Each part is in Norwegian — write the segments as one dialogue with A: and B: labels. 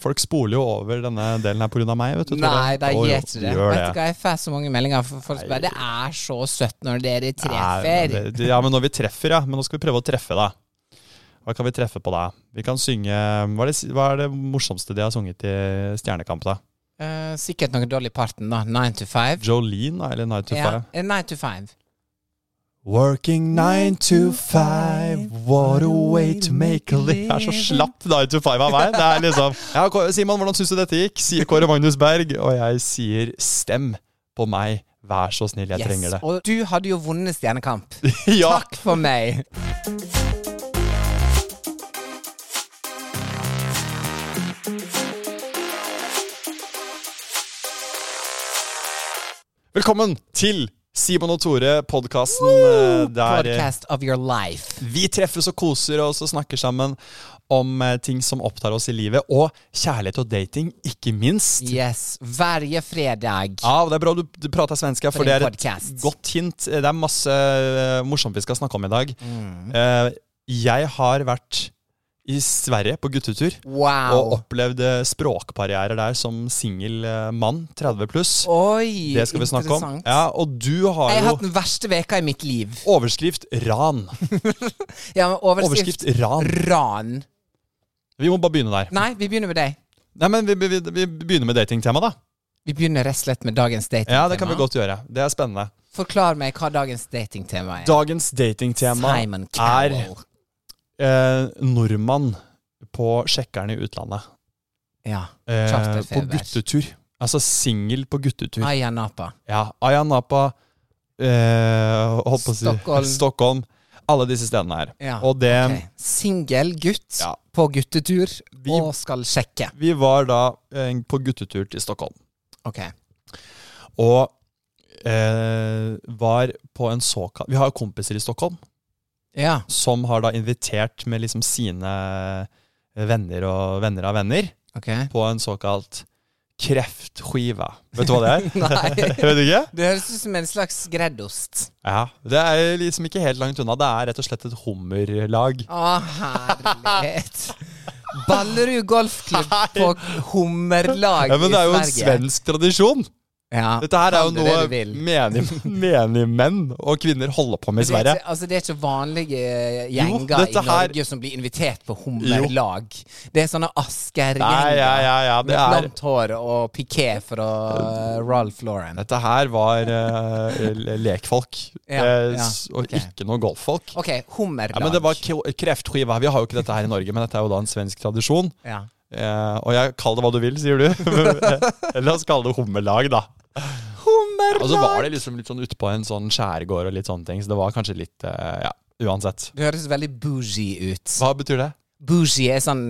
A: Folk spoler jo over denne delen her pga. meg. vet du. Tore.
B: Nei, det er
A: Jo, jo,
B: helt det.
A: gjør
B: Vet du hva, jeg får så mange meldinger fra folk som bare Det er så søtt når dere
A: Nei,
B: treffer.
A: men det- Ja, men når vi treffer, ja. Men nå skal vi prøve å treffe deg. Hva kan vi treffe på deg? Vi kan synge Hva er det, hva er det morsomste de har sunget i Stjernekamp, da?
B: Eh, sikkert noe Dolly Parton, da. Nine to five.
A: Jolene, da? Eller Night to
B: Ja,
A: Five?
B: eh, nine to five.
A: Working nine to five, what a way to make a live. Jeg er så slapp nine to five av meg. Det er liksom ja, Kåre- Simon, hvordan syns du dette gikk? Sier Kåre Magnus Berg. Og jeg sier stem på meg, vær så snill, jeg trenger det.
B: Og du hadde jo vunnet Stjernekamp.
A: Ja.
B: Takk for meg.
A: Velkommen til Simon og Tore, podkasten eh, der eh,
B: Podcast of your life.
A: Vi treffes og koser oss og snakker sammen om eh, ting som opptar oss i livet, og kjærlighet og dating, ikke minst.
B: Yes. Hver fredag.
A: Ja, og Det er bra du, du prater svensk, her, for
B: For
A: det
B: en
A: er et
B: podcast.
A: godt hint. Det er masse eh, morsomt vi skal snakke om i dag.
B: Mm.
A: Eh, jeg har vært i Sverige på guttetur og
B: Wow.
A: opplevd eh, språkbarrierer der som singel eh, mann, 30 pluss.
B: Oi,
A: det skal vi snakke om.
B: interessant.
A: Ja, Og du har
B: Jeg har
A: jo
B: hatt den verste veka i mitt liv.
A: overskrift ran.
B: Ja, men
A: Overskrift
B: overskrift
A: ran.
B: Ran.
A: Vi må bare begynne der.
B: Nei, vi begynner med deg.
A: Nei, men Vi, vi, vi begynner med datingtema, da.
B: Vi begynner rett og slett med dagens datingtema.
A: Ja, det kan vi godt gjøre. Det er spennende.
B: Forklar meg hva dagens datingtema er.
A: Dagens datingtema
B: Simon
A: er
B: Cowell.
A: eh, nordmann på sjekkeren i utlandet.
B: Ja.
A: Eh, på
B: Charterfeber.
A: guttetur. Altså singel på guttetur.
B: Aya Napa.
A: Ja, Ayia Napa, eh, holdt på å si
B: Stockholm.
A: Stockholm. Alle disse stedene her.
B: Ja,
A: Og det
B: ok. Singel gutt
A: Ja.
B: på guttetur
A: Vi-
B: og skal sjekke.
A: Vi var da eh, på guttetur til Stockholm.
B: Ok.
A: Og eh, var på en såkalt Vi har jo kompiser i Stockholm.
B: Ja.
A: som har da invitert med liksom sine venner og venner av venner
B: Ok.
A: på en såkalt kreftskive. Vet du hva det er?
B: Nei.
A: Vet du ikke?
B: Det høres ut som en slags greddost.
A: Ja, Det er liksom ikke helt langt unna. Det er rett og slett et hummerlag.
B: Å, herlighet. Ballerud golfklubb på hummerlag
A: Ja, men det er jo
B: i
A: en
B: Sverige.
A: svensk tradisjon!
B: Ja,
A: Dette her er jo
B: kall det det
A: noe
B: du vil.
A: menig, menig menn og kvinner holder på med i
B: Men Det er,
A: Sverige.
B: ikke, altså, det er ikke vanlige
A: Jo,
B: gjenger i
A: dette her-
B: Norge som blir invitert på hummerlag. Det er sånne
A: Nei,
B: Asker-gjenger
A: ja, ja, ja,
B: med
A: det er
B: langt hår og piké fra eh, Ralph Lauren.
A: Dette her var eh, le- lekfolk,
B: Ja,
A: eh,
B: ja,
A: s- og
B: ok.
A: ikke noe golffolk.
B: OK, hummerlag.
A: Ja, men det var k- kreftskiva. Vi har jo ikke dette her i Norge, men dette er jo da en svensk tradisjon.
B: Ja.
A: Eh, og jeg kall det hva du vil, sier du. Eller la oss kalle det hummerlag, da. Og så var det liksom litt sånn utpå en sånn skjærgård og litt sånne ting, så det var kanskje litt eh, Ja, uansett.
B: Det høres veldig bougie ut.
A: Hva betyr det?
B: Bougie er sånn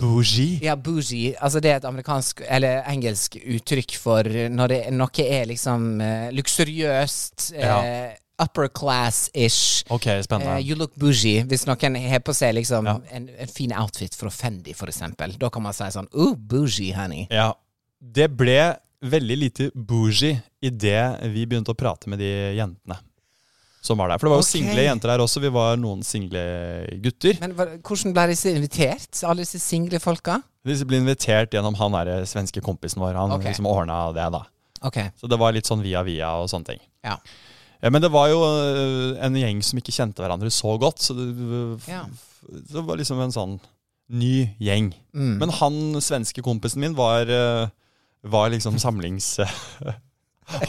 A: Bougie.
B: Ja, bougie. Altså, det er et amerikansk eller engelsk uttrykk for når det, noe er liksom eh, luksuriøst, eh,
A: Ja.
B: upper class-ish.
A: Ok,
B: Eh,
A: spennende.
B: you look bougie. Hvis noen har på seg liksom
A: Ja.
B: en, en fin outfit fra Fendi, for eksempel, da kan man si sånn Oh, bougie, honey.
A: Ja. Det ble veldig lite bougie idet vi begynte å prate med de jentene som var der. For det var jo
B: Ok.
A: single jenter der også. Vi var noen single gutter.
B: Men hva, hvordan ble disse invitert, alle disse single folka?
A: Disse ble invitert gjennom han der svenske kompisen vår. Han
B: Ok.
A: liksom ordna det, da.
B: Ok,
A: Så det var litt sånn via via og sånne ting.
B: ja.
A: Ja, men det var jo øh, en gjeng som ikke kjente hverandre så godt, så det, øh, f-
B: Ja.
A: det var liksom en sånn ny gjeng.
B: Mm.
A: Men han svenske kompisen min var, øh, var liksom samlings...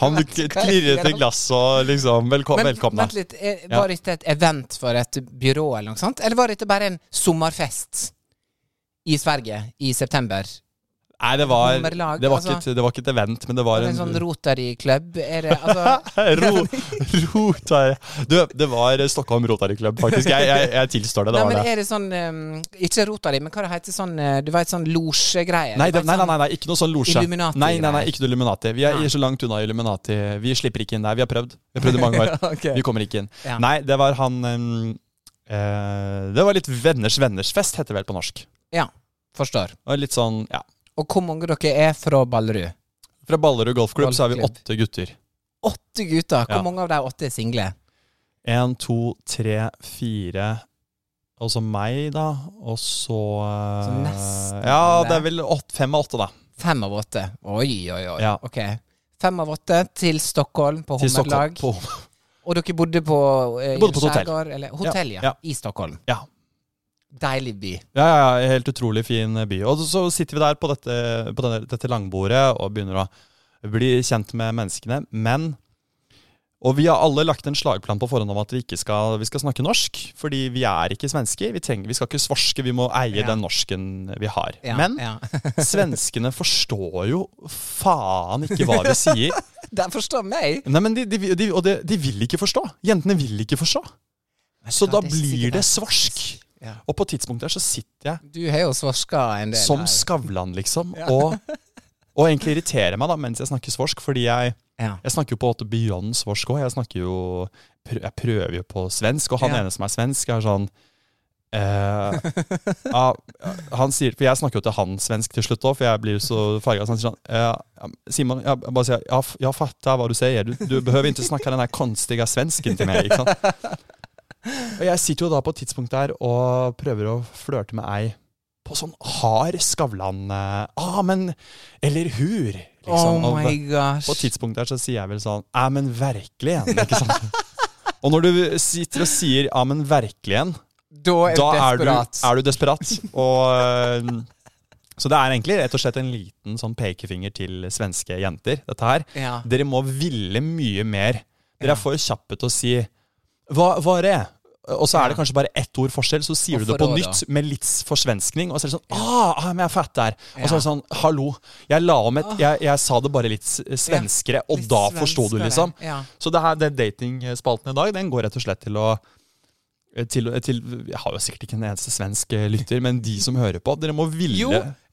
A: han
B: ikke hva jeg
A: klirret
B: sier,
A: i
B: han.
A: glasset og liksom velko
B: Men
A: velkomna.
B: vent litt, eh,
A: Ja.
B: var dette et event for et byrå eller noe sånt? Eller var dette bare en sommerfest i Sverige i september?
A: Nei, det var, det var,
B: Hummerlag,
A: ikke,
B: altså.
A: et- det var ikke et event, men det var
B: Er det
A: en
B: en sånn Rotary Club? Er det, altså,
A: Ro, Rotary Du, det var Stockholm Rotary Club, faktisk. Jeg, jeg, jeg tilstår det. det
B: nei,
A: var
B: men
A: det.
B: er det sånn um, Ikke Rotary, men hva det heter sånn eh, Du vet, sånn losjegreie?
A: Nei, det,
B: Du vet,
A: nei, nei,
B: sånn-
A: nei, nei, ikke noe sånn losje.
B: Illuminati,
A: Nei, nei, nei,
B: nei.
A: ikke noe Illuminati. Vi er så langt unna Illuminati. Vi slipper ikke inn der. Vi har prøvd. Vi har prøvd i mange år.
B: Ok.
A: Vi kommer ikke inn.
B: Ja.
A: Nei, det var han em, eh, Det var litt venners venners fest, heter det vel på norsk.
B: Ja, forstår.
A: Det var litt sånn, ja.
B: Og hvor mange dere er fra Ballerud?
A: Fra Ballerud golfklubb så er vi
B: Golfklubb.
A: åtte gutter.
B: Åtte gutter. Hvor
A: Ja.
B: mange av de åtte er single?
A: Én, to, tre, fire Og så meg, da. Og så, eh,
B: Så nesten
A: Ja,
B: alle.
A: det er vel åtte, fem av åtte, da.
B: Fem av åtte. Oi, oi, oi.
A: Ja.
B: Ok. Fem av åtte til Stockholm på
A: Til Stockholm.
B: Hummerlag.
A: På,
B: Og dere bodde på eh,
A: Vi bodde på et hotell.
B: skjærgård, Eller, hotell, ja.
A: Ja.
B: I Stockholm.
A: ja.
B: Deilig by.
A: Ja, ja, ja, helt utrolig fin by. Og så- så sitter vi der på dette, på denne, dette langbordet og begynner å bli kjent med menneskene. Men Og vi har alle lagt en slagplan på forhånd om at vi ikke skal, vi skal snakke norsk. Fordi vi er ikke svensker. Vi, trenger, vi skal ikke svorske. Vi må eie
B: Ja.
A: den norsken vi har.
B: Ja,
A: Men
B: ja.
A: svenskene forstår jo faen ikke hva vi sier.
B: De forstår meg!
A: Nei, men de, de, de, Og de, de vil ikke forstå. Jentene vil ikke forstå. Så da blir det svorsk.
B: Ja.
A: Og på tidspunktet her så sitter jeg
B: Du har jo svorska en del.
A: som
B: her.
A: Skavlan, liksom. Og, og egentlig irritere meg da mens jeg snakker svorsk, fordi jeg,
B: Ja.
A: jeg snakker jo på en måte beyond svorsk òg. Jeg snakker jo prø- Jeg prøver jo på svensk, og han
B: Ja.
A: ene som er svensk, er sånn eh, ja, han sier, For jeg snakker jo til han svensk til slutt òg, for jeg blir jo så farga. Så han sier sånn eh, Simon, jeg bare sier ja, f- Jeg fattar hva du sier. Du, du behøver ikke snakke den der konstige svensken til meg. ikke sant? Og jeg sitter jo da på et tidspunkt der og prøver å flørte med ei på sånn hard Skavlan eh, Ah, men Eller hur? Liksom.
B: oh
A: Og-
B: my gosh.
A: på et tidspunkt der så sier jeg vel sånn Ja, men virkelig igjen, ikke sant? og når du sitter og sier ja, men virkelig igjen,
B: da er du
A: da er du,
B: desperat.
A: er du desperat. Og eh, Så det er egentlig rett og slett en liten sånn pekefinger til svenske jenter, dette her.
B: Ja.
A: Dere må ville mye mer. Dere er for kjappe til å si hva, hva er det? Og så er det kanskje bare ett ord forskjell, så sier
B: Og
A: du det på
B: forråd,
A: nytt med litt forsvenskning. Og så er det sånn ah, ah, men jeg fatter. Og så er det sånn Hallo. Jeg la om et Jeg, jeg sa det bare litt s- svenskere, og
B: Ah. litt
A: da forsto du,
B: svenskere,
A: liksom.
B: ja.
A: Så det her, den datingspalten i dag, den går rett og slett til å Eh, til, til, jeg har jo sikkert ikke en eneste svensk eh, lytter, men de som hører på, dere må ville
B: Jo,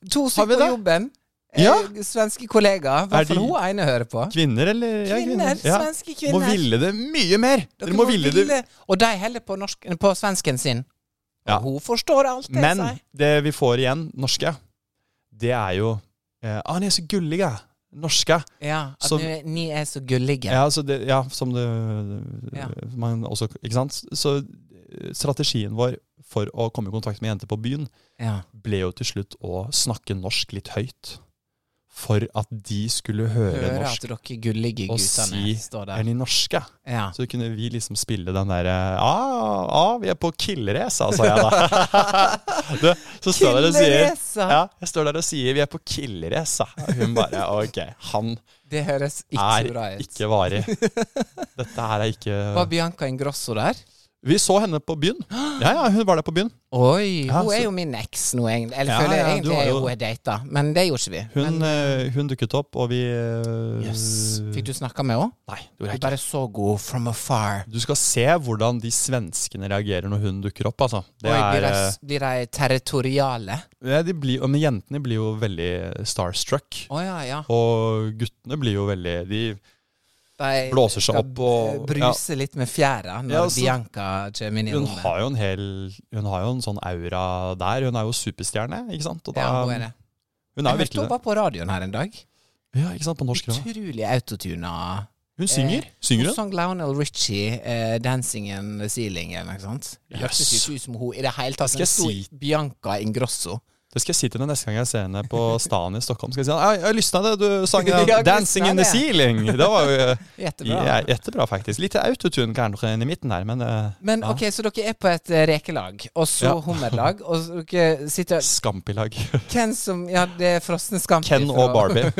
B: to
A: Har vi
B: stykker på
A: det?
B: jobben.
A: Ja.
B: Eh, Svenske kollegaer. I hvert
A: Er
B: fall
A: de-
B: hun ene hører på.
A: Kvinner, eller? ja,
B: Kvinner, svenske
A: Må
B: kvinner.
A: ville det mye mer! Dere, må, ville det
B: Og de heller på, norsk, på svensken sin.
A: Ja.
B: Og hun forstår alt det
A: Men
B: sier.
A: det vi får igjen, norske, det er jo eh, Ah, ni er så gullige! Norske.
B: Ja, at
A: Så-
B: nu- ni er så gullige.
A: Ja, så det, ja som det
B: Ja.
A: man også, Ikke sant? Så eh, strategien vår for å komme i kontakt med jenter på byen
B: Ja.
A: ble jo til slutt å snakke norsk litt høyt. For at de skulle høre,
B: Hører at
A: norsk
B: dere gullige
A: og
B: guttene
A: si
B: står
A: 'er
B: der.
A: de norske'?
B: Ja.
A: Så kunne vi liksom spille den derre Ja, ja, vi er på killrace, sa jeg da. du, så står jeg der og sier
B: Killrace, ja.
A: Ja, jeg står der og sier vi er på killrace. Og hun bare OK, han
B: Det høres ikke bra
A: er
B: ut.
A: ikke varig. Dette her er
B: Var
A: ikke
B: Bianca Ingrosso der?
A: Vi så henne på byen. Ja, ja, hun var der på byen.
B: Oi,
A: Ja,
B: hun
A: så-
B: er jo min eks nå, egentlig. Eller
A: Ja,
B: føler jeg
A: ja, du
B: egentlig
A: har
B: er
A: jo-
B: hun er data, men det gjorde ikke vi.
A: Hun, eh, hun dukket opp, og vi eh,
B: Jøss. Fikk du snakka med henne?
A: Nei, det gjorde
B: Hun
A: jeg ikke.
B: bare så god from afar.
A: Du skal se hvordan de svenskene reagerer når hun dukker opp, altså. Det
B: Oi, blir
A: er,
B: de- blir de territoriale?
A: eh, ja, de blir, men jentene blir jo veldig starstruck.
B: Å ja, ja.
A: Og guttene blir jo veldig De
B: De
A: blåser seg
B: skal
A: opp og ja,
B: bruse litt med fjæra når
A: Ja, så-
B: Bianca kommer inn i
A: Hun
B: rommet.
A: har jo en hel Hun har jo en sånn aura der. Hun er jo superstjerne, ikke sant? Og da-
B: ja, hun er det.
A: Hun er jo
B: jeg hørte
A: virkelig
B: hun
A: det.
B: var på radioen her en dag.
A: Ja, ikke sant? På norsk radio.
B: Utrolig autotuna.
A: Hun synger. Synger
B: Eh, Hun
A: hun?
B: sang Lionel Richie, eh, 'Dancing in the Ceiling', eller noe sånt. Det
A: Jøss.
B: Hørtes ikke ut som hun i det hele tatt.
A: Skal jeg
B: men det sto
A: si-
B: Bianca Ingrosso.
A: Det skal jeg si til henne neste gang jeg ser henne på staden i Stockholm. Skal jeg si «Jeg- Jeg lysna det, du sang
B: Ja,
A: eh,
B: jeg
A: 'Dancing in the
B: lysna
A: Ceiling'. Det var jo eh,
B: Jettebra.
A: ja, Jettebra, faktisk. Litt autotune kanskje inn i midten der, men eh,
B: Men
A: ja.
B: ok, så dere er på et eh, rekelag, og så
A: Ja.
B: hummerlag, og så dere sitter
A: Skampilag.
B: Hvem som Ja, det er frosne skampi.
A: Ken
B: fra-
A: og Barbie.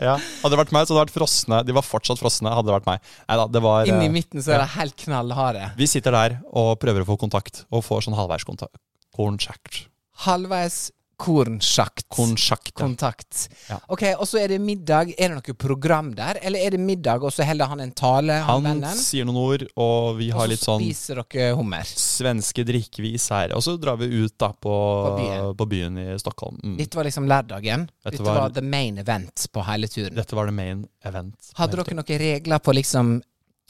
A: ja. Hadde det vært meg, så hadde det vært frosne. De var fortsatt frosne, hadde det vært meg. Neida, det var
B: Inn
A: eh,
B: i midten så er det helt knallharde.
A: Vi sitter der og prøver å få kontakt, og får sånn halvveiskontakt. Cornchact.
B: Halvveis kornsjakt.
A: Konsjakt. ja.
B: Kontakt.
A: Ja.
B: Ok, og så er det middag. Er det noe program der, eller er det middag, og så holder han en tale, han,
A: Han
B: vennen?
A: sier noen ord, og vi har
B: og
A: litt
B: så
A: sånn
B: spiser dere hummer.
A: svenske drikkevis her. Og så drar vi ut da på,
B: På byen.
A: på byen i Stockholm. Mm.
B: Dette var liksom lørdagen.
A: Dette
B: Dette,
A: var-
B: var... the main event på hele turen.
A: Dette var det main event.
B: Hadde dere noen regler på liksom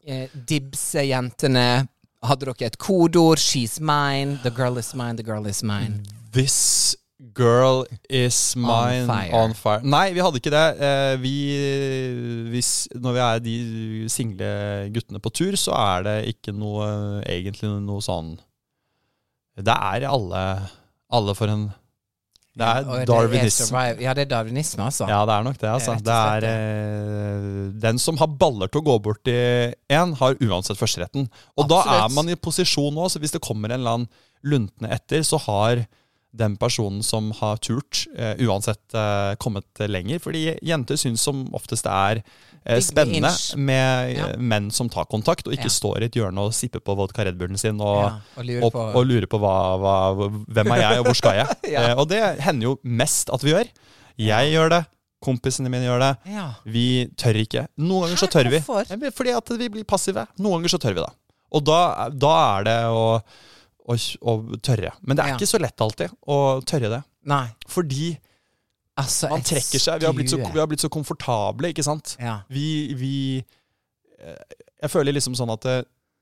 B: eh, dibse jentene? Hadde dere et kodeord? 'She's mine', 'The girl is mine', 'The girl is mine'?
A: Mm. This girl is mine
B: fire.
A: on fire. Nei, vi hadde ikke det. Eh, Vi, hvis, når vi er de single guttene på tur, så er det ikke noe egentlig noe sånn Det er alle, alle for en Det
B: Og
A: er
B: survival-
A: darwinisme.
B: Ja, det er darwinisme, altså.
A: Ja, det er nok det. altså.
B: Rett og
A: Det
B: slett,
A: er eh, Den som har baller til å gå bort til én, har uansett førsteretten. Og da
B: Absolutt.
A: er man i posisjon nå, så hvis det kommer en eller annen luntende etter, så har den personen som har turt, eh, uansett eh, kommet lenger. Fordi jenter syns som oftest det er eh,
B: Big
A: spennende
B: inch.
A: med eh,
B: Ja.
A: menn som tar kontakt, og ikke
B: Ja.
A: står i et hjørne og sipper på vodka Red Bullen sin og,
B: Ja, og lurer
A: og,
B: på-
A: og lurer på hva, hva, hvem er jeg, og hvor skal jeg?
B: Ja.
A: eh, og det hender jo mest at vi gjør. Jeg gjør det, kompisene mine gjør det.
B: Ja.
A: Vi tør ikke. Noen ganger så
B: Hæ?
A: tør vi.
B: Hvorfor?
A: Nei, men Fordi at vi blir passive. Noen ganger så tør vi, da. Og da, da er det å, å, å tørre. Men det er
B: Ja.
A: ikke så lett alltid å tørre det.
B: Nei,
A: Fordi
B: altså
A: man
B: jeg
A: trekker seg. Vi har blitt så,
B: skuer.
A: vi har blitt så komfortable, ikke sant?
B: ja.
A: Vi, vi eh, Jeg føler liksom sånn at det,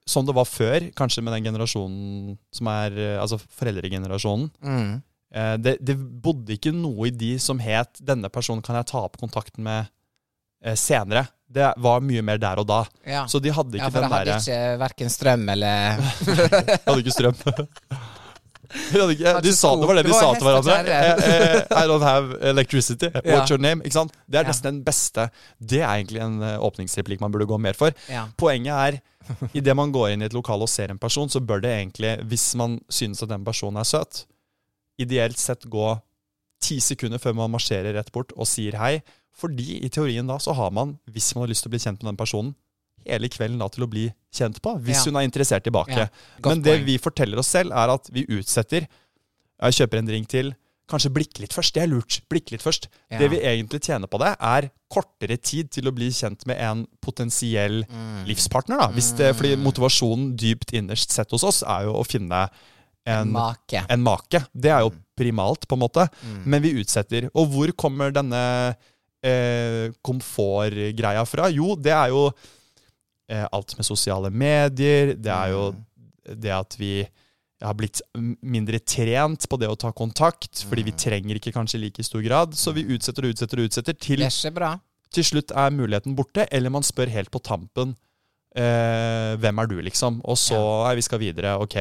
A: Sånn det var før, kanskje med den generasjonen som er eh, Altså foreldregenerasjonen.
B: Mm.
A: Eh, det, det bodde ikke noe i de som het 'denne personen kan jeg ta opp kontakten med eh, senere'. Det var mye mer der og da.
B: ja.
A: Så de hadde ikke
B: ja, for
A: den
B: jeg hadde
A: derre
B: ikke verken strøm eller
A: Hadde ikke strøm. De, hadde ikke, de
B: Hadde
A: sa det var det de
B: sko. Det
A: sa
B: var
A: til hverandre.
B: hest og
A: Eh,
B: kjerre.
A: eh, I don't have electricity.
B: Ja.
A: What's your name? Ikke sant? Det er
B: Ja.
A: nesten den beste Det er egentlig en eh, åpningsreplikk man burde gå mer for.
B: Ja.
A: Poenget er idet man går inn i et lokale og ser en person, så bør det egentlig, hvis man synes at den personen er søt, ideelt sett gå ti sekunder før man marsjerer rett bort og sier hei. Fordi i teorien da så har man, hvis man har lyst til å bli kjent med den personen, hele kvelden da til å bli kjent på, hvis
B: Ja.
A: hun er interessert tilbake.
B: Ja, godt
A: Men det
B: poeng.
A: vi forteller oss selv, er at vi utsetter. Jeg kjøper en drink til. Kanskje blikke litt først. Det er lurt. Blikke litt først.
B: Ja.
A: Det vi egentlig tjener på det, er kortere tid til å bli kjent med en potensiell livspartner. Da. Hvis det, fordi motivasjonen dypt innerst sett hos oss er jo å finne en,
B: Make.
A: en make. Det er jo primalt, på en måte. Men vi utsetter. Og hvor kommer denne eh, komfortgreia fra? Jo, det er jo eh, alt med sosiale medier. Det er jo det at vi har blitt m- mindre trent på det å ta kontakt, fordi vi trenger ikke kanskje i like stor grad. Så vi utsetter og utsetter og utsetter til
B: Det er ikke bra.
A: til slutt er muligheten borte, eller man spør helt på tampen eh, hvem er du, liksom. Og så «Nei, vi skal videre, ok.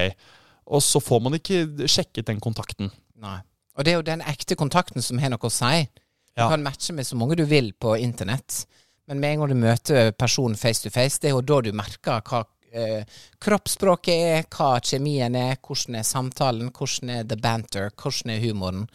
A: Og så får man ikke sjekket den kontakten.
B: Nei. Og det er jo den ekte kontakten som har noe å si. Du
A: Ja.
B: kan matche med så mange du vil på internett, men med en gang du møter personen face to face, det er jo da du merker hva eh, kroppsspråket er, hva kjemien er, hvordan er samtalen, hvordan er the banter, hvordan er humoren.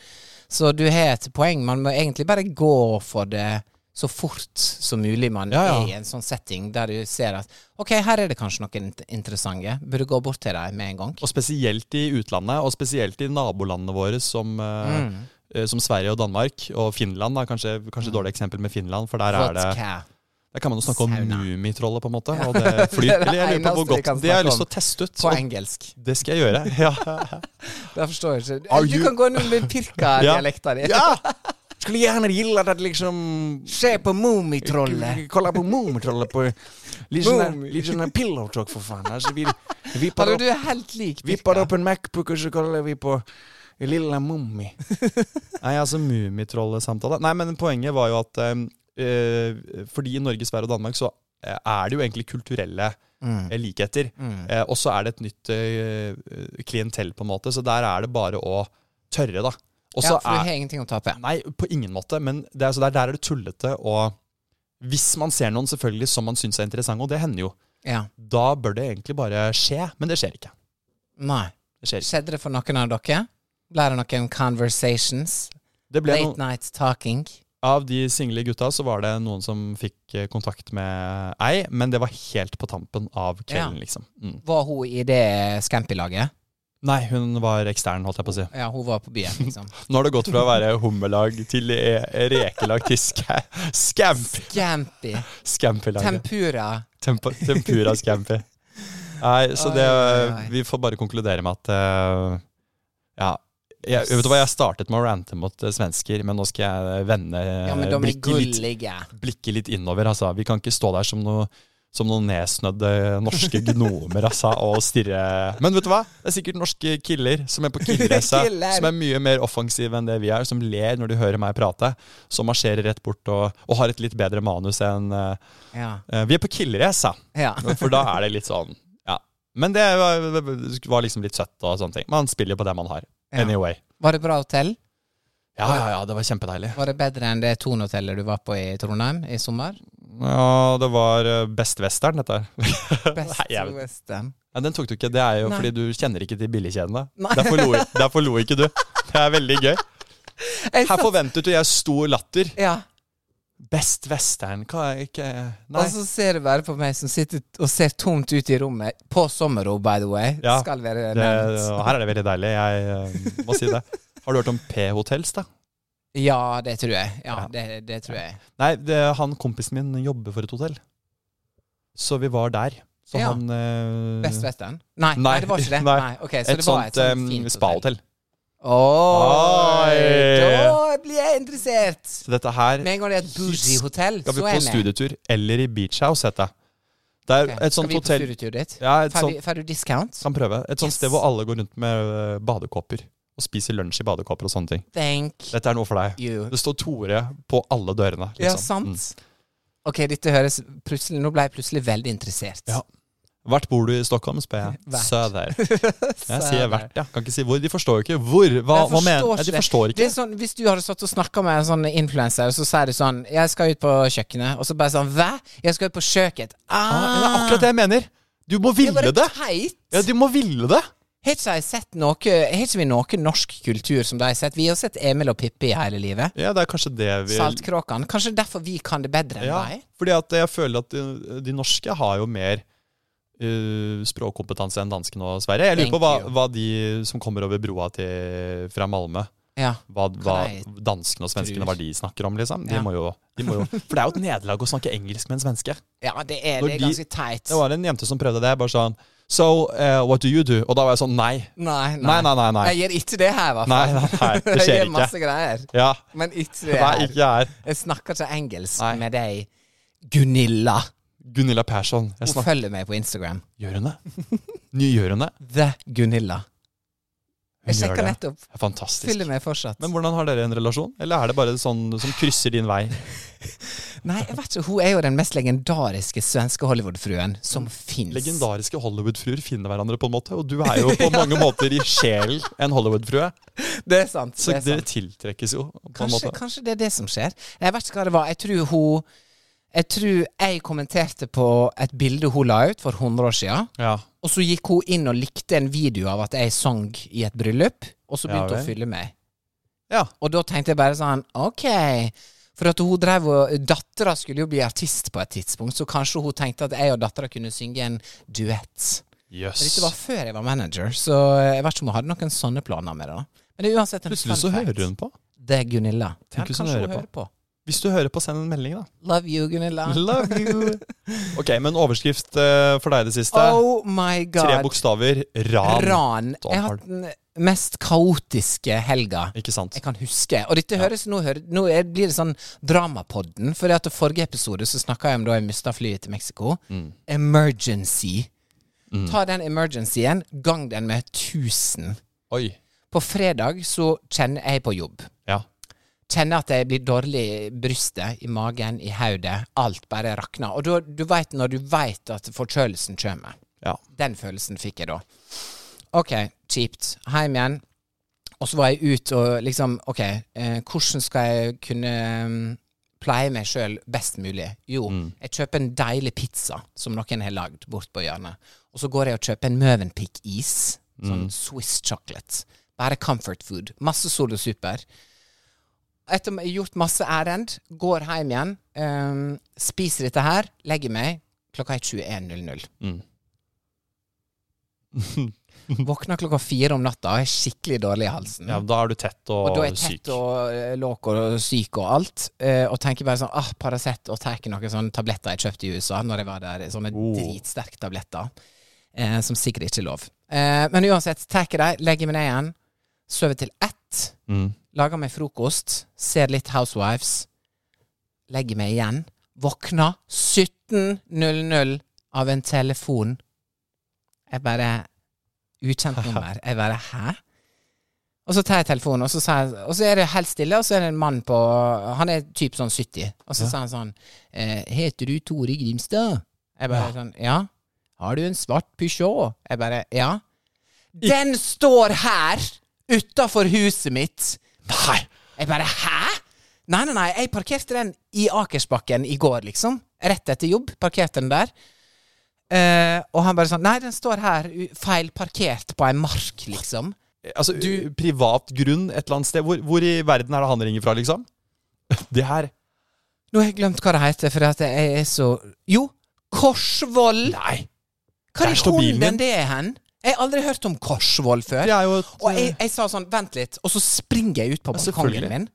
B: Så du har et poeng. Man må egentlig bare gå for det så fort som mulig man
A: Ja, ja.
B: er i en sånn setting der du ser at OK, her er det kanskje noen int- interessante. Burde gå bort til dem med en gang.
A: Og spesielt i utlandet, og spesielt i nabolandene våre som, eh,
B: Mm.
A: eh, som Sverige og Danmark, og Finland da, kanskje, kanskje dårlig eksempel med Finland, for der er det
B: Vodka.
A: Der kan man jo snakke om
B: Sauna.
A: mumitrollet, på en måte. Og det flyter.
B: det
A: Eller jeg lurer på hvor
B: eneste vi
A: godt
B: kan
A: Det har jeg
B: snakke
A: lyst til
B: om.
A: å teste ut.
B: På
A: og
B: engelsk.
A: Det skal jeg gjøre. Ja.
B: Jeg forstår jeg ikke.
A: Are
B: Du
A: you-
B: kan gå inn med pirka-dialekta di.
A: Skulle gjerne gillet at liksom
B: Se på Mummitrollet.
A: Kolla på Mummitrollet på Litt
B: Mumi.
A: sånn pillow talk, for faen. Altså, vi vi vipper
B: Hallo,
A: opp-
B: du er helt lik
A: vipper
B: pirka.
A: opp en Macbook, og så koller vi på Lilla Mummi. Nei, altså Mummitrollet-samtale. Nei, men poenget var jo at eh, eh, fordi i Norge, Sverige og Danmark så eh, er det jo egentlig kulturelle
B: Mm.
A: eh, likheter. Eh, og så er det et nytt eh, klientell, på en måte. Så der er det bare å tørre, da. Og
B: Ja,
A: så
B: for du
A: er-
B: har ingenting å tape.
A: Nei, på ingen måte. Men det er, så der, der er det tullete og Hvis man ser noen selvfølgelig som man syns er interessant, og det hender jo,
B: Ja.
A: da bør det egentlig bare skje. Men det skjer ikke.
B: Nei.
A: Det skjer ikke.
B: Skjedde det for noen av dere? Ble det noen conversations?
A: Det ble
B: Late
A: noen,
B: night talking?
A: av de single gutta så var det noen som fikk eh, kontakt med ei, men det var helt på tampen av kvelden, liksom. Mm.
B: Var hun i det Scampi-laget?
A: Nei, hun var ekstern, holdt jeg på å si.
B: Ja, hun var på byen, liksom.
A: Nå har det gått fra å være hummerlag til e- rekelag til ska scampi.
B: Jampi.
A: Scampi-laget.
B: Tempura.
A: Tempo- Tempura scampi. Nei, så
B: Oi,
A: det
B: oi, oi.
A: Vi får bare konkludere med at eh, Ja. Jeg, vet du hva, jeg startet med å rante mot eh, svensker, men nå skal jeg vende eh,
B: Ja, men de er
A: blikket litt
B: gullige.
A: blikket litt innover. Altså. Vi kan ikke stå der som, noe, som noen nedsnødde norske gnomer altså, og stirre Men vet du hva? Det er sikkert norske killer som er på killerreise,
B: Killer.
A: som er mye mer offensive enn det vi er, som ler når de hører meg prate, som marsjerer rett bort og, og har et litt bedre manus enn eh,
B: Ja.
A: eh, Vi er på killerreise,
B: ja.
A: for da er det litt sånn Ja. Men det var, var liksom litt søtt og sånne ting. Man spiller jo på det man har.
B: Ja.
A: Anyway.
B: Var det bra hotell?
A: Ja, ja, ja, det var kjempedeilig.
B: Var det bedre enn det Thon-hotellet du var på i Trondheim i sommer?
A: Ja, det var eh, Best Western, dette her.
B: Best
A: Nei, jeg vet-
B: Western.
A: Ja, den tok du ikke. Det er jo
B: Nei.
A: fordi du kjenner ikke til billigkjedene.
B: Nei.
A: Derfor lo, derfor lo ikke du. Det er veldig gøy.
B: Jeg
A: Her
B: satt-
A: forventet jo jeg stor latter.
B: Ja.
A: Best western, hva er ikke Nei.
B: Og så ser du bare på meg som sitter og ser tomt ut i rommet. På sommerro, by the way.
A: Ja,
B: Skal være
A: det,
B: nevnt.
A: og her er det veldig deilig. Jeg eh, må si det. Har du hørt om P-hotels, da?
B: Ja, det tror jeg. Ja,
A: Ja. Mm.
B: Det, det tror jeg.
A: Nei, det, han kompisen min jobber for et hotell. Så vi var der. Så
B: Ja.
A: han eh,
B: Best Western? Nei, nei,
A: Nei,
B: det var ikke det.
A: nei.
B: Nei, ok, så
A: Et
B: det var
A: sånt
B: et sånt
A: eh,
B: fint hotell.
A: spahotell.
B: Oi,
A: Oi.
B: da blir jeg interessert!
A: Så dette her
B: Med en gang det er et bougie hotell, så
A: Skal vi
B: er
A: på
B: jeg med.
A: studietur eller i beach house, heter det. Det er
B: Ok,
A: et sånt
B: Skal
A: hotell
B: vi på studietur dit?
A: ja, et
B: Får
A: sånt,
B: vi- Får du discount?
A: Kan prøve. Et sånt
B: Yes.
A: sted hvor alle går rundt med ø, badekåper og spiser lunsj i badekåper og sånne ting.
B: Thank
A: Dette er noe for deg.
B: you.
A: Det står Tore på alle dørene. Liksom.
B: Ja, sant? Ok, dette høres plutselig, Nå ble jeg plutselig veldig interessert.
A: Ja. Mm. Hvert bor du i Stockholm, spør jeg.
B: Hvert.
A: Søder.
B: Så
A: Jeg sier
B: er det-
A: hvert, ja. Kan ikke si hvor. De forstår jo ikke hvor. Hva,
B: Jeg
A: hva mener
B: forstår
A: Nei, De
B: ikke
A: forstår
B: Det
A: ikke.
B: er sånn, Hvis du hadde satt og snakka med en sånn influenser, og så sier du sånn 'Jeg skal ut på kjøkkenet', og så bare sånn 'Hva? Jeg skal ut på kjøkkenet'.
A: Ja,
B: Ah,
A: det er akkurat det jeg mener. Du må
B: Det er bare
A: ville det.
B: teit.
A: Ja, du må ville det.
B: Har ikke jeg sett noe Har ikke vi noe norsk kultur som de har sett? Vi har sett Emil og Pippi hele livet.
A: Ja, det er kanskje det vi
B: Saltkråkene. Kanskje derfor vi kan det bedre enn
A: ja,
B: de?
A: Fordi at jeg føler at de, de norske har jo mer eh, språkkompetanse enn danskene og Sverige. Jeg lurer
B: Thank
A: på hva,
B: you.
A: hva de som kommer over broa til, fra Malmö
B: Ja.
A: hva, hva
B: jeg
A: danskene og svenskene
B: tror.
A: hva de snakker om, liksom. De
B: Ja.
A: må jo, de må jo, for det er jo et nederlag å snakke engelsk med en svenske.
B: ja, det er,
A: Når
B: det er
A: de-
B: ganske teit.
A: Det var en jente som prøvde det. Bare sånn So, eh, what do you do? Og da var jeg sånn nei.
B: Nei,
A: Nei, nei, nei. nei.
B: Jeg gjør ikke det her, i hvert
A: Nei,
B: fall.
A: nei, nei, det skjer
B: jeg gjør
A: ikke.
B: masse greier,
A: Ja.
B: men ikke det
A: Nei,
B: her.
A: ikke jeg.
B: Jeg snakker ikke engelsk
A: Nei.
B: med deg, Gunilla.
A: Gunilla Persson. Jeg
B: Hun
A: snakker
B: følger meg på Instagram.
A: Gjør hun det? Ny gjør hun det?
B: The Gunilla.
A: Hun
B: Jeg
A: gjør
B: sjekker
A: det.
B: nettopp.
A: Det er Fantastisk.
B: Følger meg fortsatt.
A: Men hvordan har dere en relasjon? Eller er det bare sånn som krysser din vei?
B: Nei, jeg vet ikke. Hun er jo den mest legendariske svenske Hollywood-fruen som fins.
A: Legendariske Hollywood-fruer finner hverandre på en måte, og du er jo på mange måter i sjelen en Hollywood-frue.
B: Det er sant.
A: Så
B: det er
A: dere
B: sant.
A: tiltrekkes jo på en
B: Kanskje,
A: måte.
B: kanskje det er det som skjer. Jeg vet ikke hva det var. Jeg tror hun Jeg tror jeg kommenterte på et bilde hun la ut for 100 år siden.
A: Ja.
B: Og så gikk hun inn og likte en video av at jeg sang i et bryllup, og så
A: Ja
B: begynte hun
A: vel.
B: å fylle meg.
A: ja.
B: Og da tenkte jeg bare sånn OK. For at hun drev og Dattera skulle jo bli artist på et tidspunkt, så kanskje hun tenkte at jeg og dattera kunne synge en duett.
A: Jøss.
B: Men Dette var før jeg var manager, så jeg vet ikke om hun hadde noen sånne planer med det. da. Men det er uansett en
A: Plutselig
B: fun
A: så
B: fact.
A: hører hun på.
B: Det er Gunilla.
A: Tenk hvis hun
B: kanskje
A: hører på. Hvis du hører på, send en melding, da.
B: Love you, Gunilla.
A: Love you! Ok, men overskrift eh, for deg i det siste.
B: Oh my god.
A: Tre bokstaver. Ran.
B: Ran. Jeg har
A: Har
B: hatt den mest kaotiske helga.
A: Ikke sant?
B: jeg kan huske. Og dette høres nå, hører, nå er- blir det sånn Dramapodden. For at i forrige episode så snakka jeg om da jeg mista flyet til Mexico. Emergency. Ta den emergencyen, gang den med 1000.
A: Oi.
B: På fredag så kjenner jeg på jobb.
A: Ja.
B: Kjenner at jeg blir dårlig i brystet, i magen, i hodet. Alt bare rakner. Og da, du veit når du veit at forkjølelsen kommer.
A: Ja.
B: Den følelsen fikk jeg da. Ok, kjipt. Heim igjen. Og så var jeg ut og liksom Ok, eh, hvordan skal jeg kunne mm, pleie meg sjøl best mulig? Jo, jeg kjøper en deilig pizza som noen har lagd bort på hjørnet. Og så går jeg og kjøper en Møvenpick-is. Sånn Swiss chocolate. Bare comfort food. Masse Sol og Super. Etter å ha gjort masse ærend, går hjem igjen, eh, spiser dette
A: Mm.
B: her, legger meg. Klokka er 21.00. Våkner klokka fire om natta og er skikkelig dårlig i halsen.
A: Ja, da er du tett og,
B: Og da er jeg
A: syk.
B: tett og eh, låk og syk og alt. eh, Og tenker bare sånn ah, Paracet og tar noen sånne tabletter jeg kjøpte i USA når jeg var der. Sånne
A: Oh.
B: dritsterke tabletter. eh, Som sikkert ikke er lov. Eh, Men uansett, tar jeg dem, legger meg ned igjen, sover til ett.
A: Mm.
B: Lager meg frokost, ser litt Housewives. Legger meg igjen. Våkner 17.00 av en telefon. Jeg bare Ukjent nummer. Jeg bare Hæ? Og så tar jeg telefonen, og så, sier jeg, og så er det helt stille, og så er det en mann på Han er typ sånn 70, og så
A: Ja.
B: sa han sånn eh, 'Heter du Tore Grimstad?' Jeg bare
A: Ja.
B: sånn 'Ja'. 'Har du en svart Peugeot?' Jeg bare 'Ja'. Den står her utafor huset mitt.
A: Nei!
B: Jeg bare Hæ?! Nei, nei, nei. Jeg parkerte den i Akersbakken i går, liksom. Rett etter jobb. Parkerte den der. Eh, og han bare sånn Nei, den står her u- feilparkert på ei mark, liksom.
A: Altså, du, privat grunn et eller annet sted. Hvor, hvor i verden er det han ringer fra, liksom? Det her
B: Nå har jeg glemt hva det heter, for at jeg er så Jo, Korsvoll!
A: Nei!
B: Hva
A: der
B: i
A: står bilen din.
B: hunden det er hen? Jeg har aldri hørt om Korsvoll før.
A: Det er jo et eh,
B: Og jeg, jeg sa sånn, vent litt, og så springer jeg ut på
A: Ja,
B: balkongen
A: selvfølgelig.
B: min.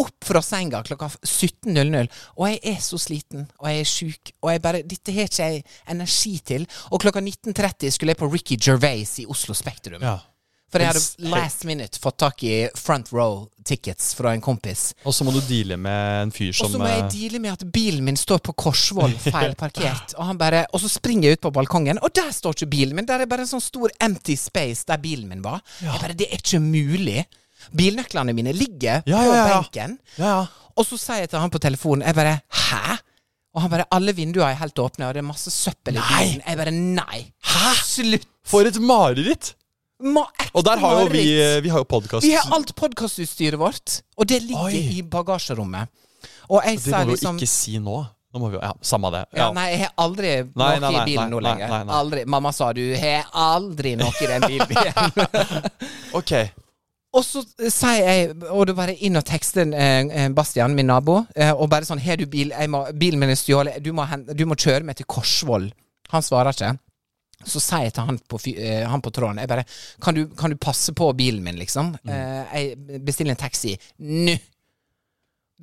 B: Opp fra senga klokka f- 17.00, og jeg er så sliten, og jeg er sjuk, og jeg bare Dette har ikke jeg energi til. Og klokka 19.30 skulle jeg på Ricky Gervais i Oslo Spektrum.
A: ja.
B: For jeg
A: Helt-
B: hadde last minute fått tak i front row tickets fra en kompis.
A: Og så må du deale med en fyr som
B: Og så må jeg
A: eh,
B: deale med at bilen min står på Korsvoll feilparkert. Og han bare Og så springer jeg ut på balkongen, og der står ikke bilen min. Der er bare en sånn stor empty space der bilen min var. Jeg bare Det er ikke mulig. Bilnøklene mine ligger
A: Ja,
B: på
A: ja, ja.
B: benken.
A: Ja, ja.
B: Og så sier jeg til han på telefonen Jeg bare Hæ? Og han bare Alle vinduene er helt åpne, og det er masse søppel i
A: Nei.
B: bilen. Jeg bare Nei. Hæ? Slutt.
A: For et mareritt!
B: Ma, ekte
A: Og der har jo vi, eh,
B: mareritt.
A: vi har jo podkast.
B: Vi har alt podkastutstyret vårt, og det ligger
A: Oi.
B: i bagasjerommet. Og jeg
A: Det må
B: sa
A: vi jo
B: liksom
A: ikke si nå. Nå må vi jo, ja, Samme det.
B: ja.
A: Ja.
B: Nei, jeg har aldri noe
A: Nei, nei,
B: i
A: nei,
B: bilen nå
A: nei,
B: lenger.
A: nei, nei.
B: Aldri. Mamma sa du har aldri noe i den bilen igjen.
A: Ok.
B: og så eh, sier jeg, og du bare inn og tekster eh, eh, Bastian, min nabo, eh, og bare sånn Har du bil? Jeg må, bilen min er stjålet. Du, må hen- du må kjøre meg til Korsvoll. Han svarer ikke. Så sier jeg til han på, fy- eh, han på tråden Jeg bare kan du, kan du passe på bilen min, liksom?
A: Mm.
B: Eh, jeg bestiller en taxi nå.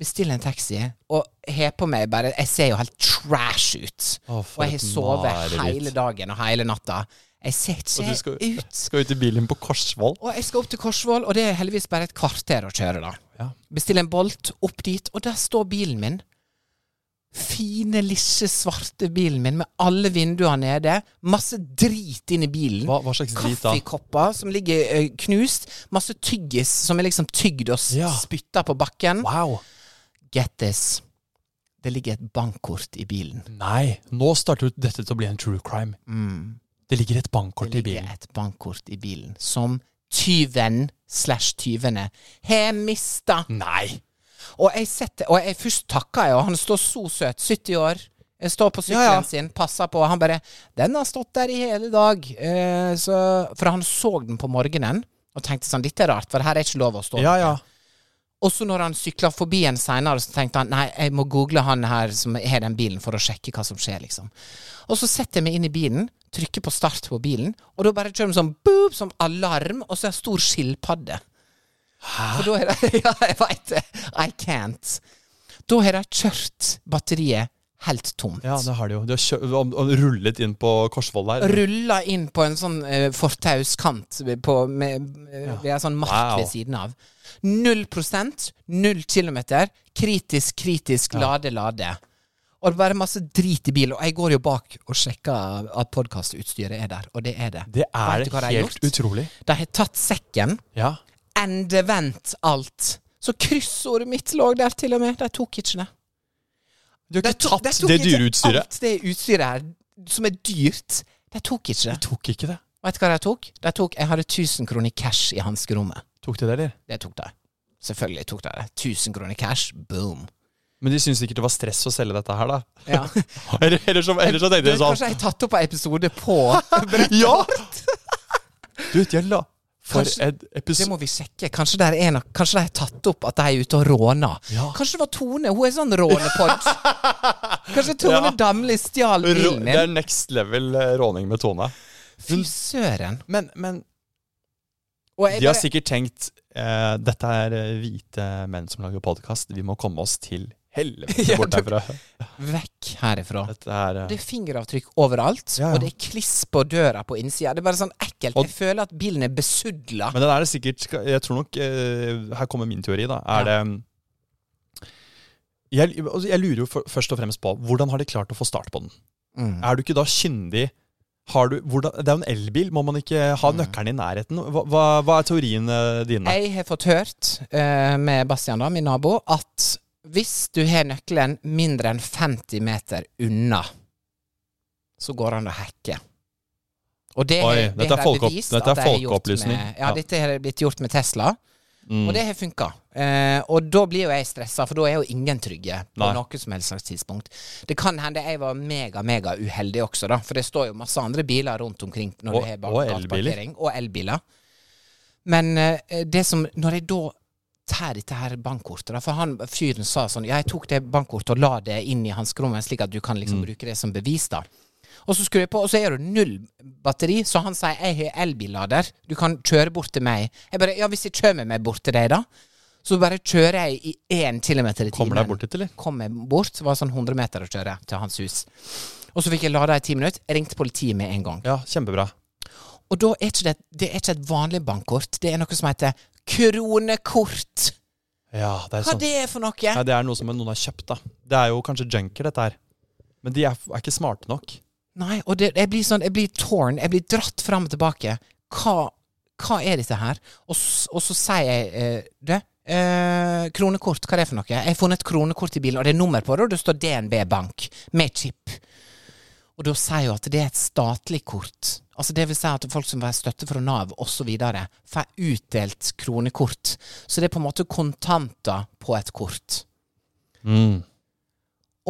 B: Bestiller en taxi, og har på meg bare Jeg ser jo helt trash ut.
A: Å,
B: Og
A: for
B: jeg har
A: et
B: sovet
A: mareritt.
B: hele dagen og hele natta. Jeg ser
A: Og
B: ikke
A: du skal,
B: ut.
A: skal ut i bilen på Korsvoll?
B: Og jeg skal opp til Korsvoll, og det er heldigvis bare et kvarter å kjøre, da.
A: Ja.
B: Bestille en Bolt, opp dit, og der står bilen min. Fine, lille, svarte bilen min med alle vinduene nede. Masse drit inn i bilen.
A: Hva, hva slags drit da?
B: Kaffekopper som ligger eh, knust. Masse tyggis som er liksom tygd og
A: Ja.
B: ja. spytta på bakken.
A: Wow.
B: Get this. Det ligger et bankkort i bilen.
A: Nei, nå starter jo dette til å bli en true crime. Det ligger et bankkort i
B: Mm. Det ligger
A: bilen.
B: et bankkort i bilen som tyven slash tyvene har mista.
A: Nei!
B: Og jeg setter, og jeg først takker jeg, og han står så søt, 70 år. Jeg står på sykkelen
A: Ja, ja.
B: sin, passer på, og han bare 'Den har stått der i hele dag.' Eh, så, for han så den på morgenen og tenkte sånn 'Dette er rart, for her er ikke lov å stå'.
A: Ja, ja.
B: Og så når han sykla forbi en seinere, så tenkte han nei, jeg må google han her som har den bilen, for å sjekke hva som skjer, liksom. Og så setter jeg meg inn i bilen, trykker på start på bilen, og da bare kjører de sånn boop, som alarm, og så er det en stor skilpadde. For da er det Ja, jeg veit det. I can't. Da har de kjørt batteriet helt tomt.
A: Ja, det har de jo. De har kjø og- og rullet inn på Korsvoll der.
B: Rulla inn på en sånn eh, fortauskant på, med, eh, ved en sånn mark
A: Wow.
B: ved siden av. Null prosent, null kilometer. Kritisk, kritisk, lade, lade. Og det er bare masse drit i bilen. Og jeg går jo bak og sjekker at podkastutstyret er der, og det er det.
A: Det er
B: Vet du hva de har
A: helt
B: gjort?
A: utrolig.
B: De har tatt sekken,
A: Ja.
B: endevendt alt. Så kryssordet mitt lå der til og med. De tok ikke det.
A: Du har
B: De
A: ikke
B: tok- de
A: tatt
B: tok
A: det
B: ikke
A: dyre utstyret.
B: Alt det utstyret her, som er dyrt, de tok ikke det.
A: De tok ikke det.
B: Vet du hva de tok? De tok, Jeg hadde 1000 kroner i cash i hanskerommet.
A: Tok de det, eller?
B: Det tok de. Selvfølgelig tok de det. 1000 kroner i cash, boom.
A: Men de syntes sikkert det var stress å selge dette her, da.
B: Ja.
A: Eller- Eller så, eller så tenkte
B: Du,
A: de sånn
B: Kanskje jeg har tatt opp en episode på
A: Ja! Du, Jella. For
B: Kanskje-
A: en
B: Det
A: episode
B: må vi sjekke. Kanskje det er noe, kanskje de har tatt opp at de er ute og råner.
A: Ja.
B: Kanskje det var Tone. Hun er sånn rånepodd. Kanskje Tone
A: Ja.
B: Damli stjal
A: Rå-
B: bilen
A: Det er
B: min.
A: next level eh, råning med Tone.
B: Fy søren.
A: Men, men
B: Og jeg
A: de har
B: bare-
A: sikkert tenkt eh, Dette er eh, hvite menn som lager podkast. Vi må komme oss til helvete
B: Ja,
A: bort
B: du-
A: herfra.
B: Vekk herifra.
A: Dette er,
B: Det
A: eh,
B: er fingeravtrykk overalt,
A: Ja, ja.
B: og det er kliss på døra på innsida. Det er bare sånn ekkelt.
A: Og-
B: Jeg føler at bilen er besudla.
A: men den er det sikkert Jeg tror nok eh, Her kommer min teori, da. Er det jeg, altså, jeg lurer jo for, først og fremst på hvordan har de klart å få start på den.
B: Mm.
A: Er du ikke da kyndig har du, hvordan, Det er jo en elbil. Må man ikke
B: Mm.
A: ha nøkkelen i nærheten? Hva, hva, hva er teoriene dine?
B: Jeg har fått hørt eh, med Bastian, da, min nabo, at hvis du har nøkkelen mindre enn 50 meter unna, så går han og hacker. Og det,
A: Oi,
B: det
A: dette er
B: har
A: folkeopp-
B: bevist
A: dette er
B: at det har gjort
A: folkeopplysning.
B: Med, ja,
A: Ja.
B: dette har blitt gjort med Tesla,
A: Mm.
B: og det har funka. Eh, og da blir jo jeg stressa, for da er jo ingen trygge på
A: Nei.
B: noe som helst slags tidspunkt. Det kan hende jeg var mega, mega uheldig også, da, for det står jo masse andre biler rundt omkring når
A: Og-
B: du har
A: og
B: bak-
A: elbiler.
B: gateparkering, Og elbiler. Men eh, det som Når jeg da tar dette her bankkortet da, For han fyren sa sånn Ja, jeg tok det bankkortet og la det inn i hanskerommet, slik at du kan
A: Mm.
B: liksom bruke det som bevis, da. Og så skrur jeg på, og så er det null batteri. Så han sier jeg har elbillader, du kan kjøre bort til meg. Jeg bare Ja, hvis jeg kjører meg bort til deg, da? Så bare kjører jeg i én kilometer i timen.
A: Kommer deg bort dit, eller?
B: Kom jeg bort, det var sånn 100 meter å kjøre til hans hus. Og så fikk jeg lada i ti minutter. Jeg ringte politiet med en gang.
A: Ja, kjempebra.
B: Og da er ikke det, det er ikke et vanlig bankkort. Det er noe som heter kronekort.
A: Ja, det er
B: Hva
A: sånn.
B: det er for noe?
A: Nei, det er noe som noen har kjøpt, da. Det er jo kanskje junker, dette her. Men de er, er ikke smarte nok.
B: Nei, og det, jeg blir sånn, jeg blir torn. Jeg blir dratt fram og tilbake. Hva, hva er dette her? Og, s- og så sier jeg eh, Du, eh, kronekort, hva er det for noe? Jeg har funnet et kronekort i bilen, og det er nummer på det, og det står DNB Bank med chip. Og da sier jo at det er et statlig kort. Altså det vil si at folk som får støtte fra Nav osv., får utdelt kronekort. Så det er på en måte kontanter på et kort.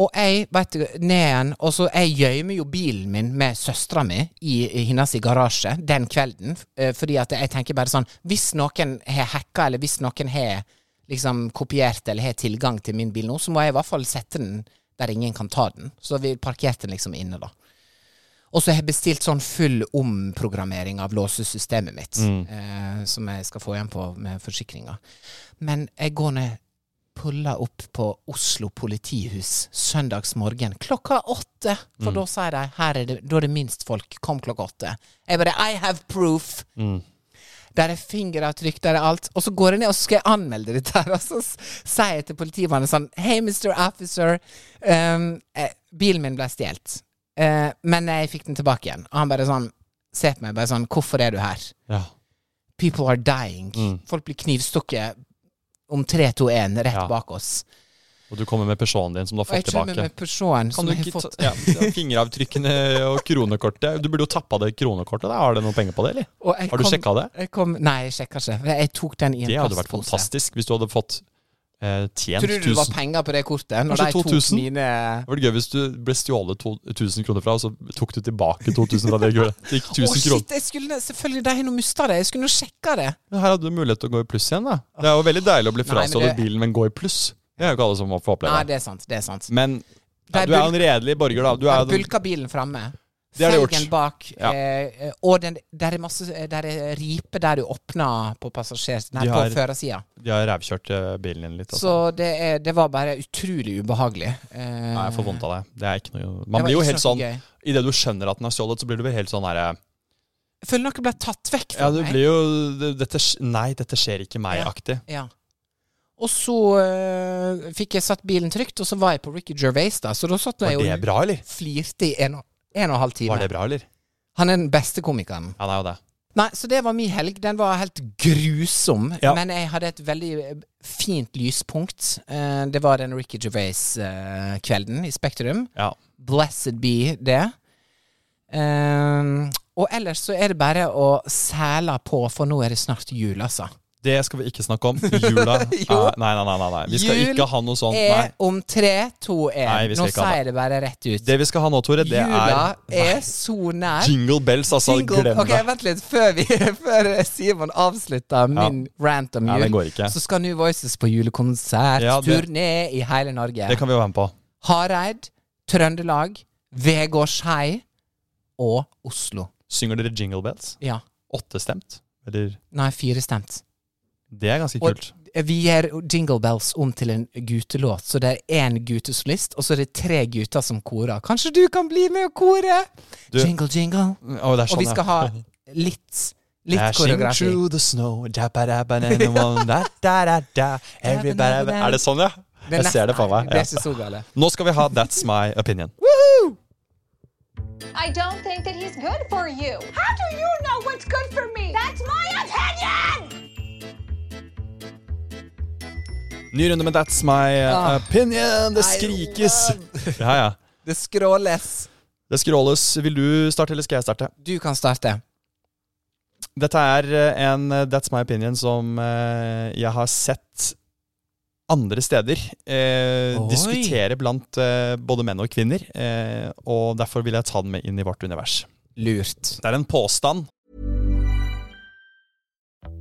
B: Og jeg vet du, ned igjen, og så jeg gjemmer jo bilen min med søstera mi i, i hennes garasje den kvelden. eh, Fordi at jeg tenker bare sånn Hvis noen har hacka, eller hvis noen har liksom kopiert eller har tilgang til min bil nå, så må jeg i hvert fall sette den der ingen kan ta den. Så vi parkerte den liksom inne, da. Og så har jeg bestilt sånn full omprogrammering av låsesystemet mitt, eh, som jeg skal få igjen på med forsikringa. Men jeg går ned pulla opp på Oslo politihus søndagsmorgen klokka åtte. For da sier de her er det, da er det minst folk. Kom klokka åtte. Jeg bare I have proof. Der er fingeravtrykk, der er alt. Og så går jeg ned og så skal jeg anmelde dette. her Og så s- sier jeg til politimannen sånn Hei, Mr. Officer. ehm, eh, bilen min ble stjålet. Eh, men jeg fikk den tilbake igjen. Og han bare sånn ser på meg bare sånn Hvorfor er du her?
A: Ja.
B: People are dying. Folk blir knivstukket om 3-2-1 rett
A: Ja.
B: bak oss.
A: Og du kommer med Peugeoten din, som du har
B: Og jeg
A: fått
B: kommer
A: tilbake.
B: med Peugeoten
A: Kan
B: som
A: du
B: jeg har
A: ikke
B: fått
A: ta ja, fingeravtrykkene og kronekortet? Du burde jo tappa det kronekortet. da. Har du noen penger på det, eller?
B: Og jeg
A: Har du
B: kom-
A: sjekka det?
B: Jeg kom, nei, jeg sjekka ikke. for Jeg tok den i en
A: Det hadde vært
B: plastpose.
A: fantastisk hvis du hadde fått eh, tjent
B: Tror du det var
A: 1000.
B: penger på det kortet? Når
A: Kanskje
B: de tok
A: 2000?
B: mine
A: Det var gøy hvis du ble stjålet to- 1000 kroner fra, og så tok du tilbake 2000 fra det gulvet. Det gikk
B: Å,
A: 1000 kroner.
B: shit! Jeg skulle, selvfølgelig, de har nå mista det. Jeg skulle nå sjekka det.
A: Men Her hadde du mulighet til å gå i pluss igjen, da. Det er jo veldig deilig å bli
B: Nei, men
A: frastjålet
B: det-
A: bilen, men gå i pluss. Det er jo ikke alle som får oppleve.
B: Nei, det er sant. Det er sant.
A: Men ja,
B: Det er
A: du er jo en redelig borger, da. Du er
B: De
A: jo den-
B: bulka bilen framme.
A: Det har de gjort.
B: Felgen bak.
A: Ja.
B: Eh, eh, og den, der er masse eh, Der er ripe der du åpner på passasjer... Nei,
A: De
B: på
A: har-
B: førersida.
A: de har rævkjørt eh, bilen din litt. Altså.
B: Så det, er, det var bare utrolig ubehagelig. Eh,
A: Nei, jeg får vondt av deg. Det er ikke noe
B: det
A: Man
B: var
A: blir jo
B: ikke
A: helt sånn
B: noe gøy.
A: Idet du skjønner at den er stjålet, så blir du vel helt sånn derre
B: Jeg føler noe ble tatt vekk fra
A: Ja, du
B: meg.
A: blir jo det- dette, sk- Nei, dette skjer ikke meg-aktig.
B: Ja. Og så øh, fikk jeg satt bilen trygt, og så var jeg på Ricky Gervais, da. Så da satt jeg
A: Var det
B: og
A: bra, eller?
B: flirte i en og, en og en halv time.
A: Var det bra, eller?
B: Han er den beste komikeren.
A: Ja, det er jo det.
B: Nei, så det var min helg. Den var helt grusom,
A: Ja.
B: men jeg hadde et veldig eh, fint lyspunkt. Eh, det var den Ricky Gervais-kvelden i Spektrum.
A: Ja.
B: Blessed be det. Eh, og ellers så er det bare å sæle på, for nå er det snart jul, altså.
A: Det skal vi ikke snakke om. Jula
B: Jo.
A: er- nei, nei, nei, nei, nei. Vi skal
B: Jul
A: ikke ha noe sånt.
B: er
A: Nei.
B: om tre, to,
A: Nei,
B: én.
A: vi
B: Nå
A: skal ikke ha
B: sier jeg det bare rett ut.
A: Det vi skal ha nå, Tore, det
B: Jula
A: er
B: er så nær.
A: Jingle bells, altså.
B: Jingle-
A: Glem
B: ok,
A: det.
B: Vent litt, før, vi, før Simon avslutter min rant om
A: Ja, den
B: jul,
A: går ikke.
B: så skal New Voices på julekonsert,
A: Ja, det-
B: turné i hele Norge.
A: Det kan vi jo være med på.
B: Hareid, Trøndelag, Vegårshei og Oslo.
A: Synger dere Jingle Bells?
B: Ja.
A: Åttestemt? Eller
B: Nei, firestemt.
A: Det er ganske
B: Og-
A: kult.
B: Vi gjør Jingle Bells om til en gutelåt, så det er én gutesolist, og så er det tre gutter som korer. Kanskje du kan bli med og kore?
A: Du-
B: Jingle, jingle.
A: Å, det er sånn,
B: Og vi
A: ja.
B: skal ha litt, litt
A: Dashing
B: koreografi.
A: through the snow dabba-dabba-na-na-na, da-da-da-da, everybody- Er det sånn, ja? Jeg ser det for meg.
B: Det
A: Ja.
B: er ikke så gale.
A: Nå skal vi ha That's My Opinion.
C: I don't think that he's good for you. How do you know what's good for me? That's my opinion!
A: Ny runde med That's My eh,
B: Ah.
A: Opinion. Det
B: I
A: skrikes. Ja, ja.
B: Det skråles.
A: Det skråles. Vil du starte, eller skal jeg starte?
B: Du kan starte.
A: Dette er eh, en eh, That's My Opinion som eh, jeg har sett andre steder eh,
B: Oi.
A: diskutere blant eh, både menn og kvinner. Eh, og derfor vil jeg ta den med inn i vårt univers.
B: Lurt.
A: Det er en påstand.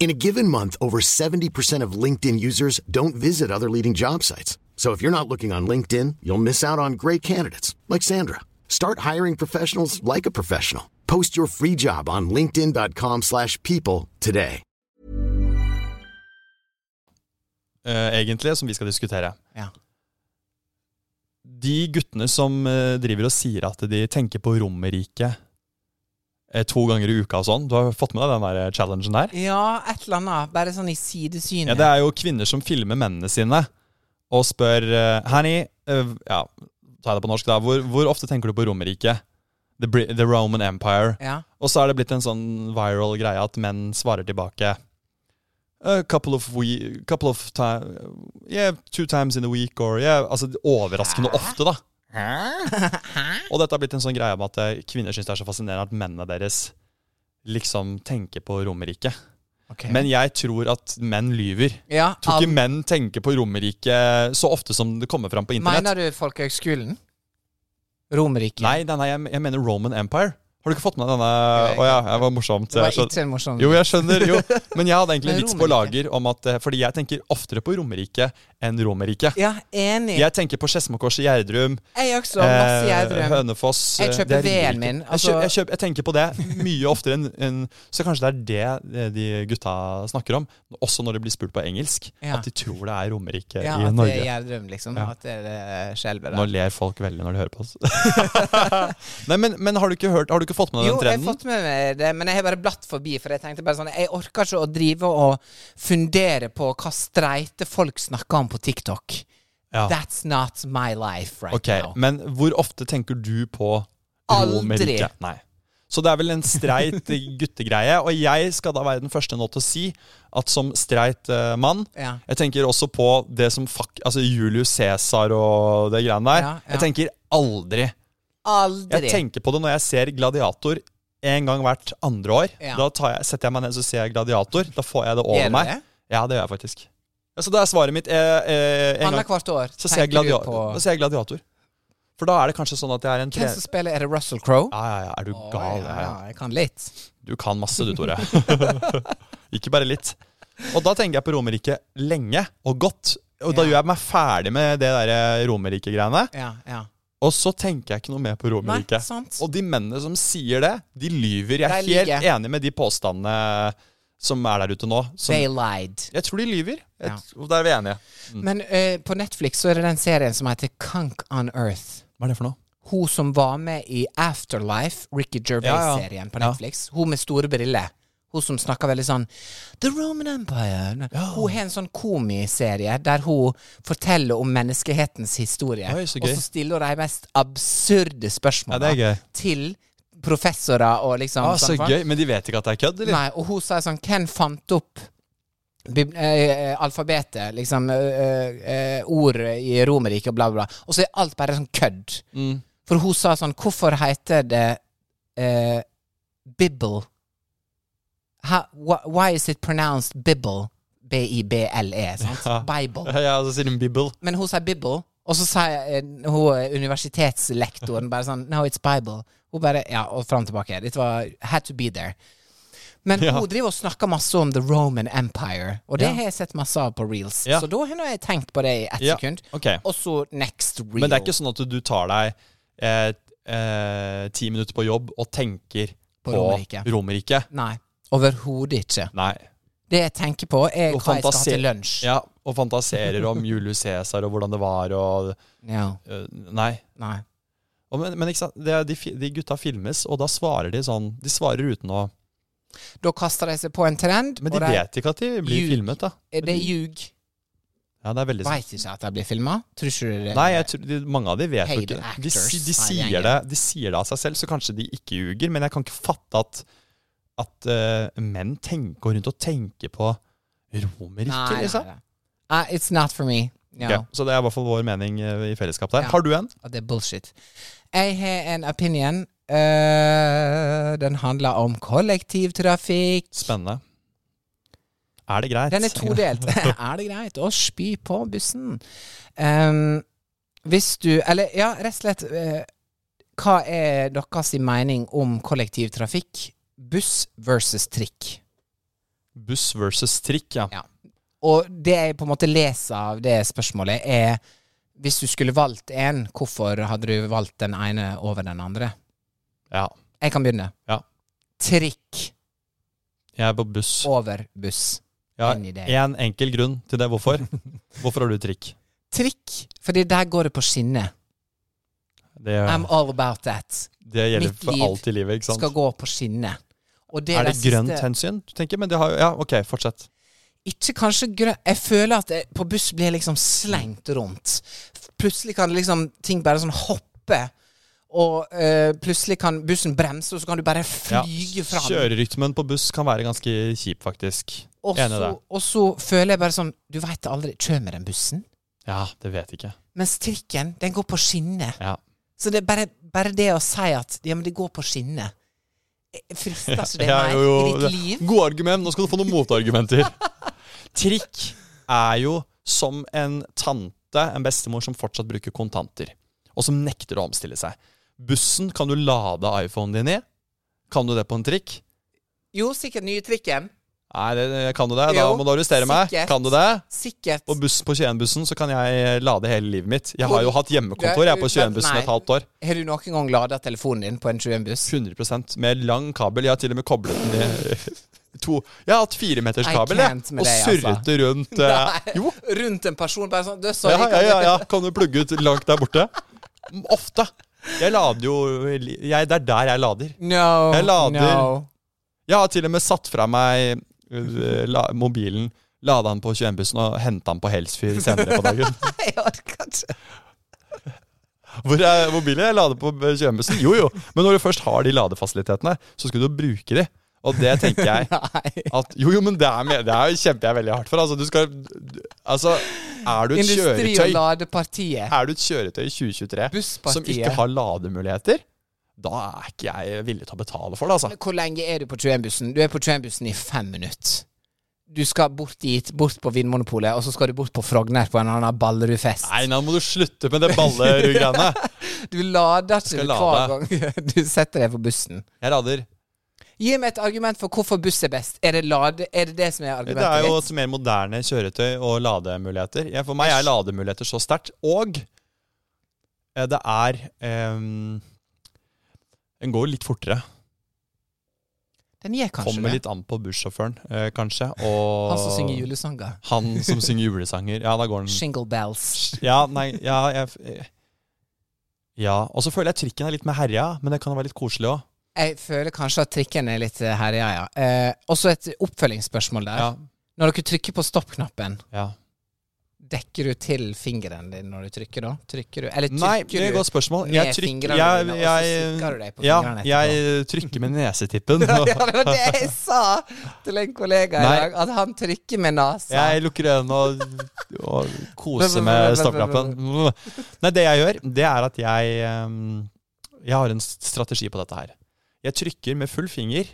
D: In a given month, over 70% of LinkedIn users don't visit other leading job sites. So if you're not looking on LinkedIn, you'll miss out on great candidates like Sandra. Start hiring professionals like a professional. Post your free job on linkedin.com/people slash people today.
A: eh, egentlig, som vi skal diskutere.
B: Ja.
A: De guttene som eh, driver og sier at de tenker på Romerriket eh, to ganger i uka og sånn, du har fått med deg den der eh, challengen der?
B: ja, et eller annet. Bare sånn i sidesynet.
A: Ja, det er jo kvinner som filmer mennene sine og spør eh, Honey, eh, ja, ta det på norsk da, hvor, hvor ofte tenker du på Romerriket? The, Bri- the Roman Empire.
B: Ja.
A: Og så er det blitt en sånn viral greie at menn svarer tilbake. A couple of we, couple of time, yeah, two times in a week, or yeah, altså overraskende ofte da. Og dette har blitt en sånn greie om at eh, kvinner synes det er så fascinerende at mennene deres liksom tenker på Romerriket.
B: Ok.
A: Men jeg tror at menn lyver.
B: Ja,
A: Tror
B: av-
A: ikke menn tenker på Romerriket så ofte som det kommer fram på internett.
B: Mener du folkehøgskolen? Romerike?
A: Nei, nei, nei jeg, jeg mener Roman Empire. Har du ikke fått med deg denne?
B: Nei,
A: Å ja, det var morsomt.
B: det var
A: Jeg skjøn-
B: ikke en morsom
A: Jo, jeg skjønner. jo Men jeg hadde egentlig en
B: Men
A: vits på
B: Romerike.
A: lager om at eh, Fordi jeg tenker oftere på Romerike enn Romerike.
B: Ja, enig.
A: Jeg tenker på Skedsmokorset i Gjerdrum,
B: Jeg også. Masse
A: eh,
B: Gjerdrum.
A: Hønefoss
B: Jeg
A: eh,
B: kjøper
A: det er
B: veden
A: Romerike.
B: min,
A: Jeg, kjøp,
B: altså-
A: jeg, kjøp, jeg tenker på det mye oftere enn enn- Så kanskje det er det eh, de gutta snakker om, også når de blir spurt på engelsk.
B: Ja.
A: At de tror det er Romerike
B: Ja,
A: i
B: at det
A: Norge.
B: er Gjerdrum, liksom.
A: Ja.
B: At det er eh, skjelvet
A: Nå
B: der.
A: ler folk veldig når de hører på oss. Nei, men, men har du ikke hørt Har du ikke fått med deg
B: Jo,
A: den
B: jeg har
A: trenden?
B: fått med meg det, men jeg har bare blatt forbi, for jeg tenkte bare sånn Jeg orker ikke å drive og fundere på hva streite folk snakker om på TikTok.
A: Ja.
B: That's not my life right
A: Ok,
B: now.
A: Men hvor ofte tenker du på
B: Aldri.
A: Romerike? Nei. Så det er vel en streit guttegreie. Og jeg skal da være den første nå til å si at som streit eh, mann
B: Ja.
A: Jeg tenker også på det som fuck, altså Julius Cæsar og det greiene der.
B: Ja, ja.
A: Jeg tenker aldri.
B: Aldri.
A: Jeg tenker på det når jeg ser Gladiator en gang hvert andre år.
B: Ja.
A: Da tar jeg, setter jeg meg ned og ser jeg Gladiator. Da får jeg det over
B: Gjør du
A: meg.
B: det?
A: Ja, det gjør jeg faktisk. Ja, så det er svaret mitt. Eh, eh, en gang
B: Annethvert år
A: så ser, jeg
B: tenker du
A: gladia-
B: på
A: så ser jeg Gladiator. For da er det kanskje sånn at jeg er en tre...
B: Hvem som spiller? Er det Russell Crowe?
A: Ja, ja, ja, er du
B: Å,
A: gal?
B: ja,
A: Ja, ja.
B: ja, jeg kan litt.
A: Du kan masse du, Tore. Ikke bare litt. Og da tenker jeg på Romerike lenge og godt. Og da
B: Ja.
A: gjør jeg meg ferdig med det der eh, Romerike-greiene.
B: Ja, ja.
A: Og så tenker jeg ikke noe mer på Romerike.
B: Nei, sant.
A: Og de mennene som sier det, de lyver. Jeg er
B: De
A: helt
B: lyver.
A: enig med de påstandene som er der ute nå. Som, Mm.
B: They lied.
A: jeg tror de lyver. Jeg,
B: Ja.
A: og Der er vi enige.
B: Men eh, på Netflix så er det den serien som heter Kunk on Earth.
A: Hva er det for noe?
B: Hun som var med i Afterlife, Ricky Gervais-serien på
A: Ja.
B: Netflix. Hun med store briller. Hun som snakker veldig sånn The Roman Empire. Hun har en sånn komiserie der hun forteller om menneskehetens historie.
A: Oi, så
B: og
A: gøy.
B: så stiller hun de mest absurde spørsmålene
A: Ja, det er gøy.
B: til professorer og liksom
A: Ah, så
B: sånn.
A: gøy. Men de liksom. vet ikke at det er kødd, eller?
B: Nei, og hun sa sånn Hvem fant opp bib- eh, alfabetet, liksom eh, eh, ord i Romerriket og bla, bla, bla. Og så er alt
A: Mm.
B: bare sånn kødd. For hun sa sånn Hvorfor heter det eh, Bibble. How, wh- why is it pronounced Bibble? B-I-B-L-E, E, sant? Bible.
A: Ja, og så sier de Bibble.
B: Men hun sier Bibble, og så sier eh, hun eh, universitetslektoren bare sånn No, it's Bible. Hun bare Ja, og fram og tilbake. Dette var Had to be there. Men
A: Ja.
B: hun driver og snakker masse om The Roman Empire, og det
A: Ja.
B: har jeg sett masse av på reels.
A: Ja.
B: Så da har nå jeg tenkt på det i ett
A: Ja,
B: sekund.
A: ok.
B: Og så next reel.
A: Men det er ikke sånn at du tar deg eh, eh, ti minutter på jobb og tenker på,
B: Romerike.
A: Romerike.
B: Nei. Overhodet ikke.
A: Nei.
B: Det jeg tenker på, er
A: Og
B: hva jeg skal ha
A: fantase-
B: til lunsj.
A: Ja, og fantaserer om Julius Cæsar og hvordan det var og
B: Ja,
A: eh, Nei.
B: Nei.
A: Og, men, men ikke sant? Det er, de, fi- de gutta filmes, og da svarer de sånn De svarer uten å
B: Da kaster de seg på en trend.
A: Men de
B: og de-
A: vet ikke at de blir
B: Ljug.
A: filmet, da.
B: Er Eh, det ljug?
A: Ja, det er veldig sant.
B: Veit ikke at de blir filma. Tror ikke du det?
A: Nei, jeg tror, de, mange av de vet jo
B: Paid
A: ikke det. De,
B: actors,
A: si- de,
B: sa
A: sier
B: gjengen.
A: det, de sier det av seg selv, så kanskje de ikke ljuger. Men jeg kan ikke fatte at, at eh, menn tenker, går rundt og tenker på romerriket,
B: Nei,
A: liksom.
B: nei, nei. Uh, it's not for me. No.
A: Ok, så det er i hvert fall vår mening eh, i fellesskap der.
B: Ja.
A: Har du en?
B: At det er bullshit. Jeg har en opinion. Eh, den handler om kollektivtrafikk.
A: Spennende. Er det greit?
B: Den er todelt. er det greit å spy på bussen? Ehm, hvis du Eller ja, rett og slett eh, Hva er deres mening om kollektivtrafikk? Buss versus trikk.
A: Buss versus trikk, ja.
B: Ja. Og det jeg på en måte leser av det spørsmålet, er Hvis du skulle valgt en, hvorfor hadde du valgt den ene over den andre?
A: Ja.
B: Jeg kan begynne.
A: Ja.
B: Trikk
A: Jeg er på buss.
B: over buss.
A: Ja,
B: enig i det.
A: en enkel grunn til det. Hvorfor? Hvorfor har du trikk?
B: Trikk, fordi der går det på skinner.
A: Det,
B: I'm all about that.
A: det gjelder
B: mitt
A: for
B: liv
A: alt i livet, ikke sant?
B: Skal gå på skinner. Og
A: Er det
B: siste-
A: grønt hensyn du tenker? Men det har jo Ja, OK, fortsett.
B: Ikke kanskje grønt Jeg føler at jeg, på buss blir jeg liksom slengt rundt. Plutselig kan liksom ting bare sånn hoppe. Og eh, plutselig kan bussen bremse, og så kan du bare flyge fram.
A: Kjørerytmen på buss kan være ganske kjip, faktisk.
B: Og
A: Enig i det.
B: så, og så føler jeg bare sånn Du veit aldri Kommer den bussen?
A: Ja, det vet jeg ikke.
B: Mens trikken, den går på skinner.
A: Ja.
B: Så det er bare, bare det å si at ja, men det går på skinner Jeg Frister ikke det
A: Ja,
B: mer
A: jo, jo,
B: i ditt liv?
A: God argument. Nå skal du få noen motargumenter. Trikk er jo som en tante, en bestemor, som fortsatt bruker kontanter. Og som nekter å omstille seg. Bussen kan du lade iPhonen din i. Kan du det på en trikk?
B: Jo, sikkert nye trikken.
A: Nei, det, det- kan du det? Da
B: Jo,
A: må du arrestere meg.
B: sikkert.
A: Kan du det?
B: Sikkert.
A: På, buss, på 21-bussen så kan jeg lade hele livet mitt. Jeg har jo hatt hjemmekontor jeg på 21-bussen et halvt år.
B: Har du noen gang lada telefonen din på en 21-buss?
A: 100 med lang kabel. Jeg har til og med koblet den i to Jeg har hatt firemeters
B: I
A: kabel jeg,
B: can't med
A: og
B: deg,
A: surret
B: altså.
A: det rundt eh,
B: Nei,
A: Jo.
B: Rundt en person, bare sånn «Du, sorry,
A: Ja, ja,
B: kan
A: ja,
B: du-
A: ja. Kan du plugge ut langt der borte? Ofte. Jeg lader jo jeg, Det er der jeg lader.
B: No,
A: Jeg lader.
B: No.
A: Jeg har til og med satt fra meg eh, la, mobilen, lada den på 21-bussen og henta den på Helsfyr senere på dagen.
B: Jeg orker ikke.
A: Hvor er mobilen? Jeg lader på 21-bussen. Jo, jo. Men når du først har de ladefasilitetene, så skal du jo bruke de. Og det tenker jeg
B: Nei.
A: at Jo, jo, men det er, med, det er jo kjemper jeg veldig hardt for. Altså, du skal Altså, er du et
B: Industri- og
A: kjøretøy
B: ladepartiet.
A: Er du et kjøretøy i 2023 som
B: Busspartiet.
A: ikke har lademuligheter, da er ikke jeg villig til å betale for det, altså.
B: Hvor lenge er du på 21-bussen? Du er på 21-bussen i fem minutter. Du skal bort dit, bort på Vinmonopolet, og så skal du bort på Frogner på en annen Ballerudfest.
A: Nei, nå må du slutte med det ballerud-greiene.
B: Du lader ikke
A: Skal
B: hver gang du setter deg på bussen.
A: Jeg lader.
B: Gi meg et argument for hvorfor buss er best. Er det lade? Er det det som er
A: Det er
B: argumentet
A: jo
B: ditt?
A: et mer moderne kjøretøy og lademuligheter. Jeg, for meg er lademuligheter så sterkt. Og eh, det er em, Den går litt fortere.
B: Den gir kanskje
A: Kommer
B: det.
A: litt an på bussjåføren, eh, kanskje. Og
B: Han som synger julesanger.
A: Han som synger julesanger. Ja, da går den
B: Shingle bells.
A: Ja, nei, ja, jeg eh, Ja, og så føler jeg trikken er litt mer herja, men det kan være litt koselig òg.
B: Jeg føler kanskje at trikken er litt eh, her, ja, ja. Eh, også et oppfølgingsspørsmål der.
A: Ja,
B: Når dere trykker på stopp-knappen,
A: ja.
B: dekker du til fingeren din når du trykker da? Trykker du? Eller trykker
A: Nei, det er et
B: du
A: godt spørsmål.
B: med
A: Jeg trykker
B: fingrene
A: jeg,
B: dine, og så stikker du
A: jeg,
B: deg på
A: ja,
B: fingrene
A: jeg trykker med nesetippen.
B: Ja, det var det jeg sa til en kollega i
A: Nei.
B: dag, at han trykker med nesa.
A: Jeg lukker øynene og, og koser med stoppknappen. Nei, det jeg gjør, det er at jeg ehm, Jeg har en strategi på dette her. Jeg trykker med full finger,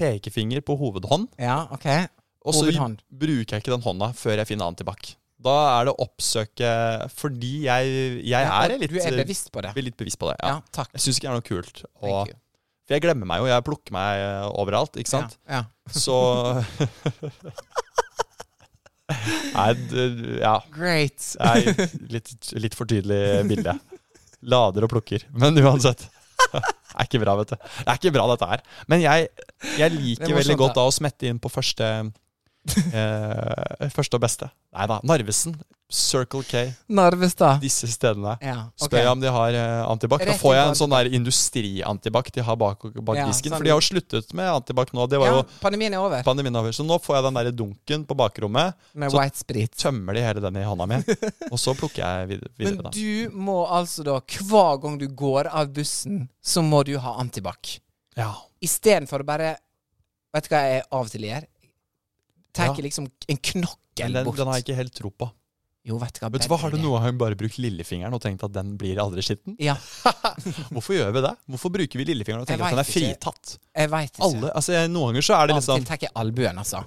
A: pekefinger på hovedhånd,
B: Ja, ok.
A: og så
B: Hovedhånd.
A: bruker jeg ikke den hånda før jeg finner annen tilbake. Da er det oppsøke Fordi jeg, jeg
B: Ja,
A: er litt eh,
B: Du er bevisst på det.
A: blir litt bevisst på det.
B: Ja,
A: Ja.
B: takk.
A: Jeg syns ikke det er noe kult.
B: Thank
A: Og,
B: you.
A: for jeg glemmer meg jo. Jeg plukker meg eh, overalt, ikke sant.
B: Ja, ja.
A: Så Nei, d- ja.
B: Great.
A: Det er litt, litt for tydelig bilde. Lader og plukker. Men uansett. Det er ikke bra, vet du. Det er ikke bra, dette her. Men jeg, jeg
B: Det
A: liker
B: er morsomt,
A: veldig godt
B: da.
A: da å smette inn på første eh, Første og beste. Nei da. Narvesen, Circle K,
B: Narvestad.
A: disse stedene.
B: Ja, ok.
A: Spør jeg om de har eh, antibac. Da
B: Rett
A: får jeg
B: tilbake.
A: en sånn der industriantibac de har bak, bak
B: Ja,
A: disken.
B: sånn-
A: For de har jo sluttet med antibac nå. Det var
B: Ja,
A: jo
B: pandemien er over.
A: pandemien over. Så nå får jeg den der dunken på bakrommet.
B: Med
A: så-
B: white sprit.
A: Tømmer de hele den i hånda mi. Og så plukker jeg vid- videre.
B: Men
A: da.
B: du må altså da, hver gang du går av bussen, så må du ha antibac.
A: Ja.
B: Istedenfor å bare Vet du hva jeg av og til gjør? Tar
A: Ja.
B: liksom en
A: Den,
B: knokkel
A: den
B: bort.
A: har jeg ikke helt tro på.
B: Jo, vet du hva.
A: Vet du hva, Har du noen gang bare brukt lillefingeren og tenkt at den blir aldri skitten?
B: Ja,
A: Hvorfor gjør vi det? Hvorfor bruker vi lillefingeren og
B: Jeg
A: tenker at den er
B: vet ikke.
A: fritatt?
B: jeg veit ikke.
A: Alle, altså jeg- Noen ganger så er det
B: Av og til
A: liksom
B: tar jeg albuen, altså.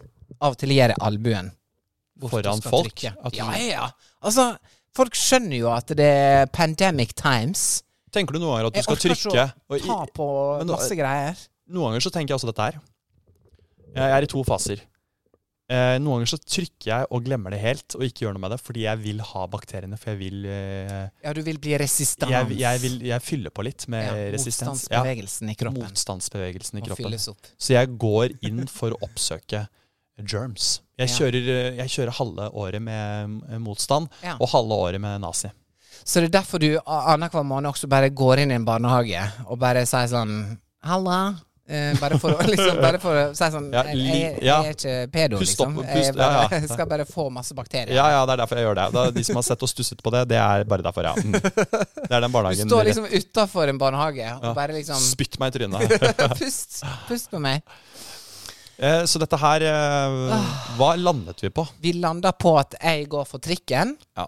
B: Av og til gjør jeg albuen. bort og
A: foran
B: skal
A: folk.
B: trykke.
A: At du,
B: Ja, ja, ja. Altså, folk skjønner jo at det er pandemic times.
A: tenker du noen ganger at du
B: Jeg
A: skal
B: orker
A: trykke? Og
B: ikke å ta
A: i,
B: på
A: Men nå-
B: masse greier.
A: noen ganger så tenker jeg også dette her. Jeg er i to faser. Eh, noen ganger så trykker jeg og glemmer det helt og ikke gjør noe med det fordi jeg vil ha bakteriene. For jeg vil, eh,
B: Ja, du vil bli resistans.
A: jeg, jeg vil jeg fyller på litt med
B: ja,
A: resistens. Ja,
B: Motstandsbevegelsen i kroppen.
A: motstandsbevegelsen i
B: Må
A: kroppen.
B: fylles opp.
A: Så jeg går inn for å oppsøke germs. Jeg
B: Ja.
A: kjører, jeg kjører halve året med eh, motstand
B: Ja.
A: og halve året med nazi.
B: Så det er derfor du a- annenhver måned også bare går inn i en barnehage og bare sier sånn Halla. Eh, bare for å liksom, bare for å si sånn
A: Ja,
B: jeg,
A: li-
B: jeg,
A: ja.
B: jeg er ikke pedo,
A: Pust opp,
B: liksom.
A: pust-
B: jeg bare,
A: ja, ja.
B: skal bare få masse bakterier.
A: Ja, ja, det er derfor jeg gjør det. Da, de som har sett og stusset på det, det er bare derfor, ja. Mm. Det er den
B: Du
A: barnehagen.
B: står liksom utafor en barnehage og
A: Ja.
B: bare liksom
A: Spytt meg i trynet.
B: Pust, pust på meg.
A: Eh, Så dette her eh,
B: Ah.
A: Hva landet vi på?
B: Vi landa på at jeg går for trikken.
A: Ja.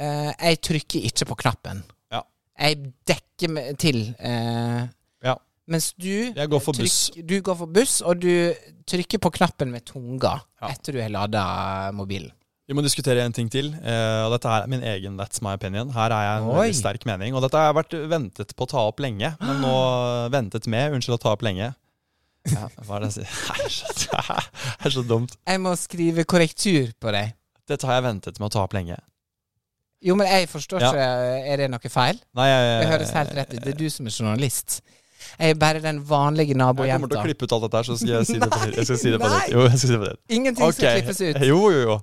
B: Eh, jeg trykker ikke på knappen.
A: Ja.
B: Jeg dekker meg til. eh,
A: Ja.
B: mens du
A: Jeg går for buss.
B: trykk- Du går for buss, og du trykker på knappen med tunga
A: Ja.
B: etter du har lada mobilen.
A: Vi må diskutere en ting til. eh, og Dette her er min egen That's my opinion. Her er jeg en
B: Oi.
A: veldig sterk mening. Og dette har jeg vært ventet på å ta opp lenge. Men nå ventet med. Unnskyld å ta opp lenge. Ja, hva er det jeg sier? Det er så- Det er så dumt.
B: Jeg må skrive korrektur på deg.
A: Dette har jeg ventet med å ta opp lenge.
B: Jo, men jeg forstår
A: Ja. Eh,
B: ikke Er det noe feil?
A: Nei, jeg,
B: Det høres helt rett ut. Det er du som er journalist. Jeg er bare den vanlige
A: Jeg kommer til å
B: nabojenta.
A: klippe ut alt dette her, så skal jeg si det på nytt. Jeg skal si det på
B: Nei,
A: nytt. Jo, jeg skal si det på nytt.
B: Ingenting skal
A: Ok.
B: klippes ut.
A: Jo, jo, jo.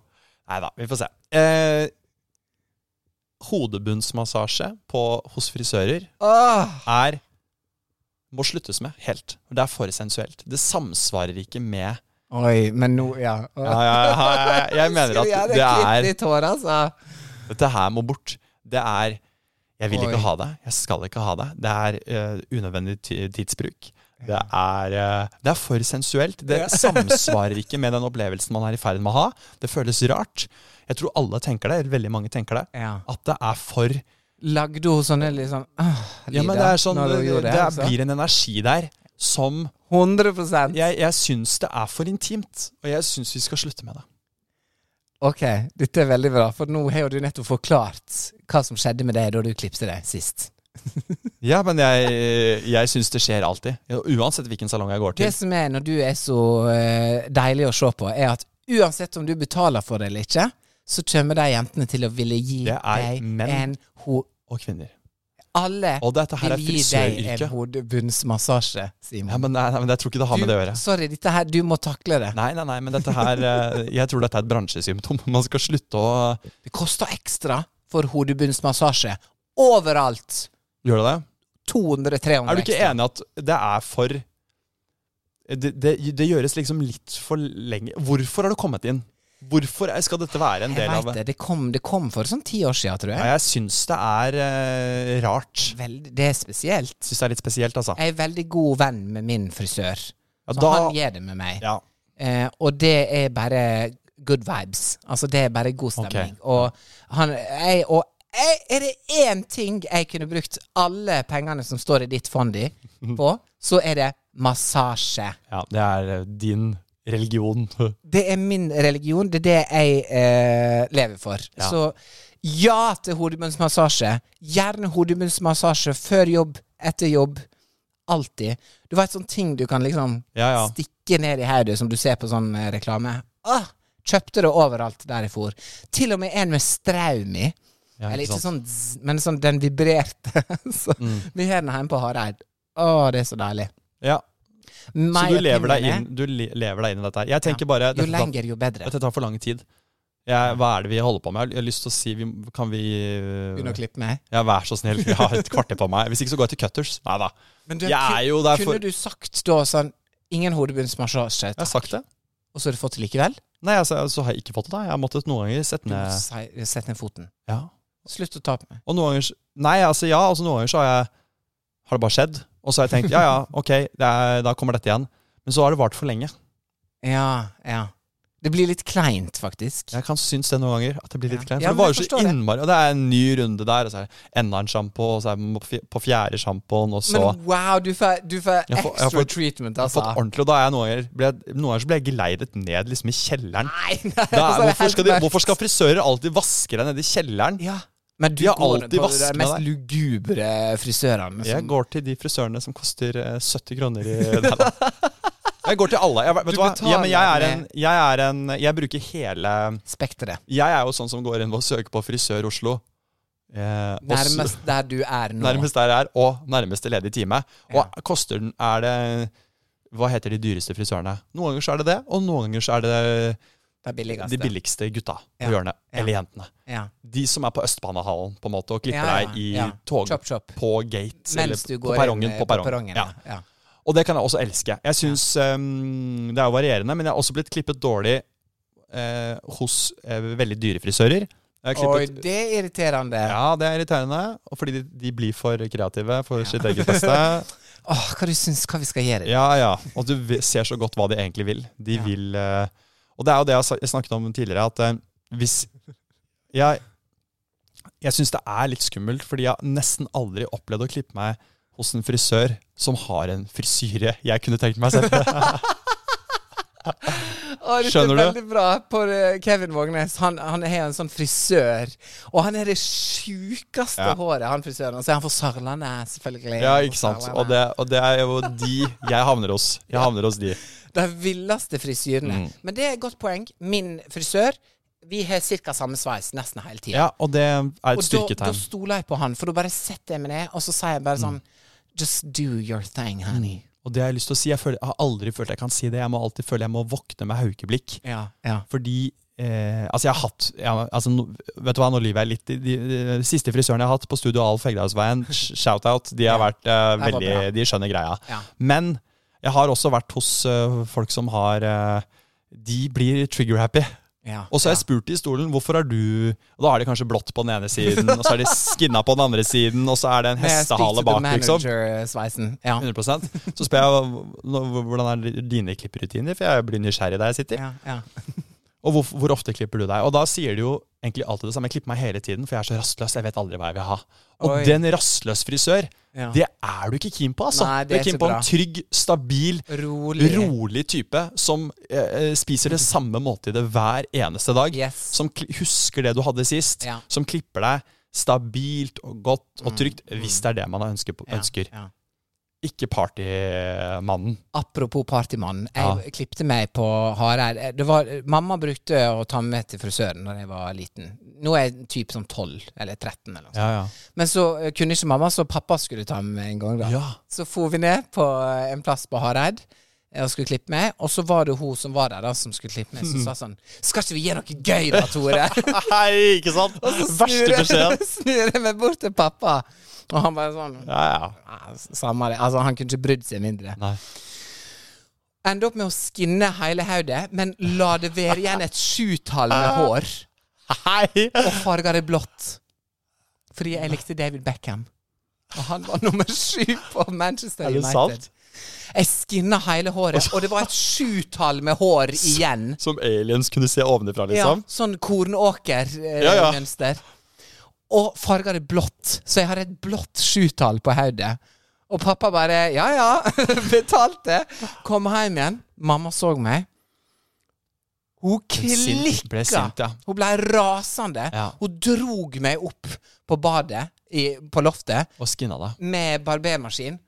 A: Nei da, vi får se. Eh, hodebunnsmassasje på, hos frisører
B: Åh,
A: er må sluttes med helt. Det er for sensuelt. Det samsvarer ikke med
B: Oi, men nå Ja.
A: ja, ja, ja, ja, ja. Jeg mener
B: Skal vi ha
A: at det er
B: klipp ditt hår, altså?
A: Dette her må bort. Det er Jeg vil
B: Oi.
A: ikke ha det. Jeg skal ikke ha det. Det er eh, unødvendig ti- tidsbruk. Det er, eh, det er for sensuelt. Det samsvarer ikke med den opplevelsen man er i ferd med å ha. Det føles rart. Jeg tror alle tenker det, eller veldig mange tenker det,
B: Ja.
A: at det er for
B: Lagde hun sånne liksom åh,
A: Ja, men det
B: lyder
A: er sånn
B: når
A: Det,
B: hun gjorde
A: det
B: altså.
A: blir en energi der som
B: 100
A: Jeg, jeg syns det er for intimt, og jeg syns vi skal slutte med det.
B: Ok, dette er veldig bra, for nå har jo du nettopp forklart hva som skjedde med deg da du klipset deg sist.
A: Ja, men jeg, jeg syns det skjer alltid. Uansett hvilken salong jeg går
B: Det
A: til.
B: som er når du er så eh, deilig å se på, er at uansett om du betaler for det eller ikke, så kommer de jentene til å ville gi
A: Det er
B: deg
A: menn.
B: en ho...
A: Og kvinner.
B: Alle
A: Og dette her er
B: vil gi deg en
A: frisøryrket.
B: hodebunnsmassasje,
A: Ja,
B: Simon.
A: men, nei, nei, men jeg tror ikke det har med det å
B: du,
A: gjøre.
B: sorry, dette her, du må takle det.
A: Nei, nei, nei, men dette her eh, Jeg tror dette er et bransjesymptom. Man skal slutte å
B: Det koster ekstra for hodebunnsmassasje. Overalt!
A: Gjør det det?
B: 200-300
A: Er du ikke
B: ekstra.
A: enig at det er for det, det, det gjøres liksom litt for lenge Hvorfor har det kommet inn? Hvorfor er- skal dette være en
B: Jeg
A: del av
B: vet det. Det kom, det kom for sånn ti år siden, tror
A: Ja,
B: jeg.
A: jeg syns det er eh, rart.
B: Veldig, det er spesielt.
A: Syns det er litt spesielt, altså.
B: Jeg er veldig god venn med min frisør.
A: Ja,
B: Så
A: da,
B: han gjør det med meg.
A: ja.
B: Eh, og det er bare good vibes. Altså, det er bare god stemning. Og, han, jeg, og jeg, er det én ting jeg kunne brukt alle pengene som står i ditt fond i, på, så er det massasje.
A: Ja, det er eh, din religion.
B: Det er min religion. Det er det jeg eh, lever for. Så ja til hodebunnsmassasje. Gjerne hodebunnsmassasje før jobb, etter jobb. Alltid. Du vet sånne ting du kan liksom
A: Ja, ja.
B: stikke ned i hodet, som du ser på sånn eh, reklame. Ah, kjøpte det overalt der jeg for. Til og med en med straum i.
A: Ja,
B: Eller
A: ikke
B: ikke
A: sant? Mm.
B: sånn zzz, men sånn den vibrerte. så Vi har den hjemme på Hareid. Å, det er så deilig.
A: Ja. Så
B: My
A: du lever, deg
B: opinion
A: inn,
B: er-
A: du le- lever deg inn i dette her. Jeg tenker bare
B: Jo
A: dette tar-
B: lenger, jo bedre.
A: Dette tar for lang tid. Jeg, hva er det vi holder på med? Jeg har- Jeg har lyst til å si vi, Kan vi
B: Begynn å klippe meg.
A: Ja, vær så snill. Jeg har et kvarter på meg. Hvis ikke så går jeg til Cutters. Nei da.
B: Men
A: Jeg er jo der for
B: Kunne du sagt da sånn Ingen hodebunnsmassasje,
A: Jeg har sagt det.
B: og så har du fått det likevel?
A: Nei, altså, så har jeg ikke fått det, da. Jeg har måttet noen ganger sette
B: Du må
A: ned
B: si- Sett ned foten.
A: Ja.
B: Slutt å ta på meg.
A: Og noen ganger s- Nei, altså ja. Altså, noen ganger så har jeg Har det bare skjedd. Og så har jeg tenkt ja ja, ok, det er, da kommer dette igjen. Men så har det vart for lenge.
B: Ja, ja. Det blir litt kleint, faktisk.
A: Jeg kan synes det noen ganger. At det blir litt
B: Ja.
A: kleint.
B: Ja,
A: For det
B: men
A: varer
B: jeg
A: så
B: forstår det.
A: innmari Og det er en ny runde der, og så er det enda en sjampo, og så er man på fj- på fjerde sjampoen, og så
B: Men wow, du får, du får
A: Jeg
B: extra
A: får- jeg får-
B: treatment,
A: Jeg har
B: altså.
A: fått ordentlig, og da er jeg noen ganger ble, jeg- Noen ganger så ble jeg geleidet ned liksom i kjelleren.
B: Nei, nei,
A: Da,
B: altså, det er
A: hvorfor,
B: helt
A: skal de,
B: mørkt.
A: hvorfor skal frisører alltid vaske deg nede i kjelleren?
B: Ja. Men du
A: De har
B: går
A: alltid
B: på de
A: vasket
B: mest
A: deg.
B: lugubre frisørene.
A: Jeg
B: som-
A: går til de frisørene som koster eh, 70 kroner i Nei da. Jeg går til alle. Jeg, vet du hva? Ja, men jeg, er en, jeg er en Jeg bruker hele
B: Spekteret.
A: Jeg er jo sånn som går inn og søker på Frisør Oslo. Eh, og s-
B: Nærmest der du er nå.
A: nærmest der jeg er, og nærmeste ledige time. Og koster den Er det Hva heter de dyreste frisørene? Noen ganger så er det det, og noen ganger så er det
B: Det er billigast.
A: De billigste gutta på
B: Ja.
A: hjørnet.
B: Ja.
A: Eller jentene.
B: Ja.
A: De som er på Østbanehallen på en måte og klipper
B: Ja, ja,
A: deg i
B: ja.
A: tog
B: Chop, chop.
A: på gates
B: Mens du
A: eller
B: går
A: på perrongen.
B: inn, eh,
A: På perrongen.
B: ja.
A: Ja.
B: ja.
A: Og det kan jeg også elske. Jeg synes, ehm, Det er jo varierende, men jeg har også blitt klippet dårlig eh, hos eh, veldig dyre frisører. Jeg har
B: Oi,
A: klippet-
B: det er irriterende.
A: ja, det er irriterende. Og fordi de, de blir for kreative for sitt eget beste.
B: Åh, hva du syns hva vi skal gjøre?
A: Ja, ja. Og du vi- ser så godt hva de egentlig vil. De
B: Ja.
A: vil eh, Og det er jo det jeg har sa- jeg snakket om tidligere, at eh, hvis Jeg, jeg syns det er litt skummelt, fordi jeg har nesten aldri opplevd å klippe meg hos en frisør som har en frisyre jeg kunne tenkt meg selv.
B: Åh, dette
A: skjønner
B: er
A: du?
B: veldig bra på eh, Kevin Vågnes. Han, han er jo en sånn frisør. Og han er det sjukeste
A: Ja.
B: håret, han frisøren. Og så er han fra Sørlandet, selvfølgelig.
A: Ja,
B: Han er
A: ikke
B: fra
A: sant.
B: Sørlandet.
A: Og det, og det er jo de jeg havner hos. Jeg havner hos de.
B: De villeste frisyrene.
A: Mm.
B: Men det er et godt poeng. Min frisør Vi har ca. samme sveis nesten hele tida.
A: Ja, og det er et
B: og da, da
A: styrketegn. Mm.
B: stoler jeg på han, for da bare setter jeg meg ned, og så sier jeg bare sånn Just do your thing, honey.
A: Og det har jeg lyst til å si. Jeg, føler, jeg har aldri følt jeg kan si det. Jeg må alltid føle jeg må våkne med haukeblikk.
B: Ja, ja.
A: Fordi eh, Altså, jeg har hatt jeg, altså, no, Vet du hva, nå lyver jeg litt. De, de, de siste frisørene jeg har hatt på Studio Alf Hegdehaugsveien, sh- shout-out, de har vært eh,
B: Det var
A: veldig
B: bra.
A: De skjønner greia.
B: Ja.
A: Men jeg har også vært hos eh, folk som har eh, De blir trigger-happy.
B: ja.
A: Og så har jeg spurt de i stolen hvorfor har du Og da har de kanskje blått på den ene siden, og så er de skinna på den andre siden, og så er det en hestehale bak, liksom. Mm.
B: Sveisen. Ja.
A: 100 Så spør jeg "Nå, hvordan er dine klipperutiner, for jeg blir nysgjerrig der jeg sitter.
B: Ja, ja.
A: Og hvor, hvor ofte klipper du deg? Og da sier de jo egentlig alltid det samme. Jeg klipper meg hele tiden, for jeg er så rastløs. Jeg vet aldri hva jeg vil ha. Og
B: Oi.
A: den rastløs frisør,
B: Ja.
A: det er du ikke keen på, altså.
B: Nei, det
A: du
B: er
A: er keen
B: så
A: på
B: bra.
A: en trygg, stabil,
B: Rolig.
A: rolig type som eh, eh, spiser det samme måltidet hver eneste dag.
B: Yes.
A: Som kli- husker det du hadde sist.
B: Ja. Mm.
A: Som klipper deg stabilt og godt og trygt, hvis det er det man ønsker. På,
B: Ja,
A: ønsker.
B: ja.
A: Ikke partymannen.
B: Apropos partymann.
A: Ja.
B: Jeg klippte meg på Hareid. Eh, Det var, mamma brukte å ta meg med til frisøren da jeg var liten. Nå er jeg typ sånn 12 eller 13 eller noe sånt.
A: Ja, ja.
B: Men så eh, kunne ikke mamma, så pappa skulle ta meg med en gang. da.
A: Ja.
B: Så for vi ned på eh, en plass på Hareid eh, og skulle klippe meg. Og så var det hun som var der, da, som skulle klippe meg, som sa sånn Skal ikke vi gjøre noe gøy da, Tore?
A: Hei, ikke sant? Verste beskjeden.
B: snur jeg meg bort til pappa, og han bare sånn
A: Ja, ja.
B: "Ah, Samme det. Altså, han kunne ikke brydd seg mindre.
A: Nei.
B: Endte opp med å skinne hele hodet, men la det være igjen et sjutall
A: Ah.
B: med hår,
A: Hei!
B: og farga det blått. Fordi jeg likte David Beckham. Og han var nummer sju på Manchester
A: Er det
B: United.
A: sant?
B: Jeg skinna hele håret, og det var et sjutall med hår igjen.
A: Som aliens kunne se ovenifra,
B: Ja,
A: liksom?
B: sånn kornåker-mønster.
A: Ja, ja.
B: Og farga det blått, så jeg har et blått sjutall på hodet. Og pappa bare Ja, ja. Betalte. Kom hjem igjen. Mamma så meg. Hun
A: sint- ble
B: klikka.
A: sint, ja.
B: Hun ble rasende.
A: Ja.
B: Hun drog meg opp på badet, i, på loftet,
A: Og skinna deg.
B: med barbermaskin.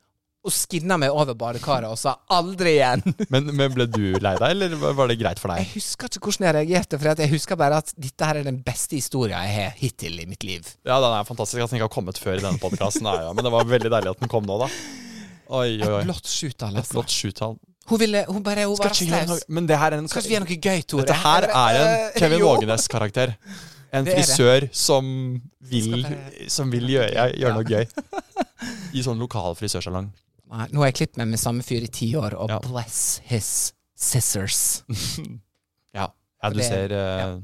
B: Og skinna meg over badekaret og sa 'aldri igjen'.
A: Men, men ble du lei deg, eller var det greit for
B: Jeg
A: deg?
B: husker ikke hvordan jeg reagerte, for at jeg husker bare at dette her er den beste historien jeg har hittil i mitt liv.
A: Ja, den er fantastisk at den ikke har kommet før i denne podkasten. Ja, men det var veldig deilig at den kom nå, da. Oi, oi, oi.
B: Blått sjutall,
A: Et
B: altså.
A: blått sjutall.
B: Hun ville Hun bare Hun var
A: Skal ikke gjøre
B: raus.
A: noe- Men det her er en
B: Kanskje vi gjør noe gøy, Tore?
A: Dette her er en
B: Eh,
A: Kevin
B: jo.
A: Vågenes-karakter. En
B: Det er det.
A: frisør som vil,
B: Skal bare-
A: som vil gjøre, gjøre noe gøy. I sånn lokal frisørsalong.
B: Nei, Nå har jeg klippet meg med samme fyr i ti år, og
A: Ja.
B: bless his scissors.
A: Ja. ja du
B: det-
A: ser eh,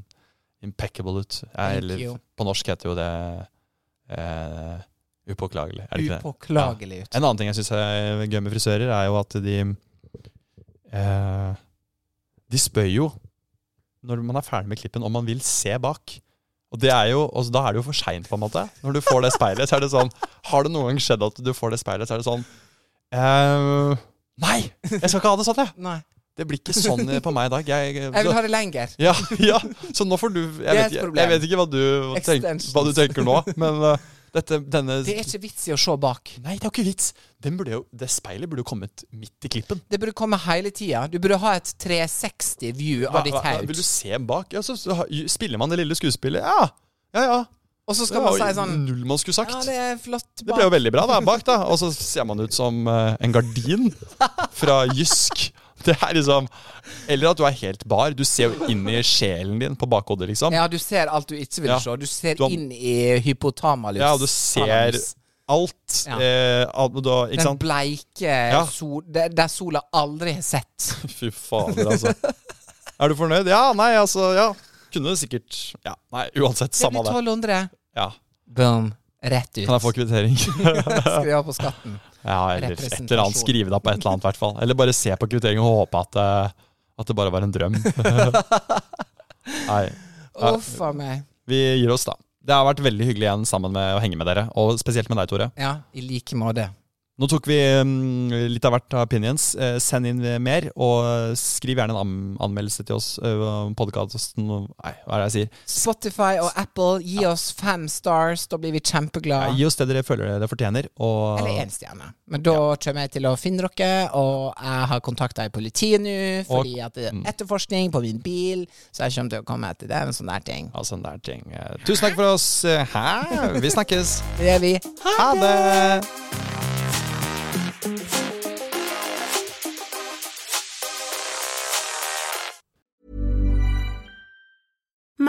A: impeccable ut. Ja,
B: Thank
A: eller
B: you.
A: på norsk heter jo det eh, upåklagelig. Er det ikke det?
B: Upåklagelig ut.
A: En annen ting jeg syns er gøy med frisører, er jo at de eh, De spør jo når man er ferdig med klippen, om man vil se bak. Og det er jo, og da er det jo for seint, på en måte. Når du får det speilet, så er det sånn Har det noen gang skjedd at du får det speilet, så er det sånn eh, Nei! Jeg skal ikke ha det sånn, jeg!
B: Nei.
A: Det blir ikke sånn på meg i dag. Jeg,
B: Jeg vil ha det lenger.
A: ja, ja, så nå får du Jeg,
B: er
A: vet,
B: et
A: ikke-
B: problem.
A: jeg vet ikke hva du, tenker,
B: Extensions.
A: hva du tenker nå, men eh, dette, denne
B: Det er ikke vits i å se bak.
A: Nei, det er jo ikke vits. Den burde jo, det speilet burde jo kommet midt i klippen.
B: Det burde komme hele tida. Du burde ha et 360-view av ditt
A: vil
B: haug.
A: du se bak? Ja, så, så ha- spiller man det lille skuespillet. Ja, ja. ja.
B: Og så skal
A: det
B: man
A: var
B: si
A: jo
B: sånn
A: Null man skulle sagt.
B: Ja, det
A: det,
B: er flott
A: ble jo
B: bak.
A: veldig bra da, bak, da. Og så ser man ut som eh, en gardin fra Jysk. Det er liksom Eller at du er helt bar. Du ser jo inn i sjelen din på bakhodet, liksom.
B: Ja, du ser alt du ikke vil
A: Ja.
B: se. Du ser
A: Du har-
B: inn i hypotamalus.
A: Ja, og du ser
B: Thalamus.
A: alt.
B: Ja.
A: Eh, alt og da, ikke
B: Den
A: sant?
B: bleike sol, der, der sola aldri har sett.
A: Fy fader, altså. Er du fornøyd? Ja, nei, altså, ja. Kunne sikkert Ja, nei, uansett.
B: Det
A: Samme
B: blir
A: det.
B: 1200.
A: Ja.
B: Boom. Rett ut.
A: Kan jeg få kvittering?
B: Skriv av på skatten.
A: ja, eller et
B: Representasjon.
A: eller annet. Skrive det opp på et eller annet, i hvert fall. Eller bare se på kvitteringen og håpe at, eh, at det bare var en drøm. nei. Ja,
B: Uff a meg.
A: vi gir oss, da. Det har vært veldig hyggelig igjen sammen med å henge med dere, og spesielt med deg, Tore.
B: Ja, i like måte.
A: Nå tok vi mm, litt av hvert av opinions. Eh, Send inn mer, og skriv gjerne en an- anmeldelse til oss eh, om podkasten Nei, hva er det jeg sier?
B: Spotify og Apple, gi oss fem stars, da blir vi
A: Ja,
B: kjempeglade.
A: gi oss det dere føler dere fortjener. Og
B: Eller én stjerne. Men da kommer jeg til å finne dere, og jeg har kontakta i politiet nå, fordi at det
A: Mm.
B: er etterforskning på min bil, så jeg kommer til å komme etter det, en sånn der ting.
A: Ja, sånn der ting. Eh, Tusen takk for oss. Eh, Hæ? Vi snakkes.
B: Det gjør vi.
A: Ha det!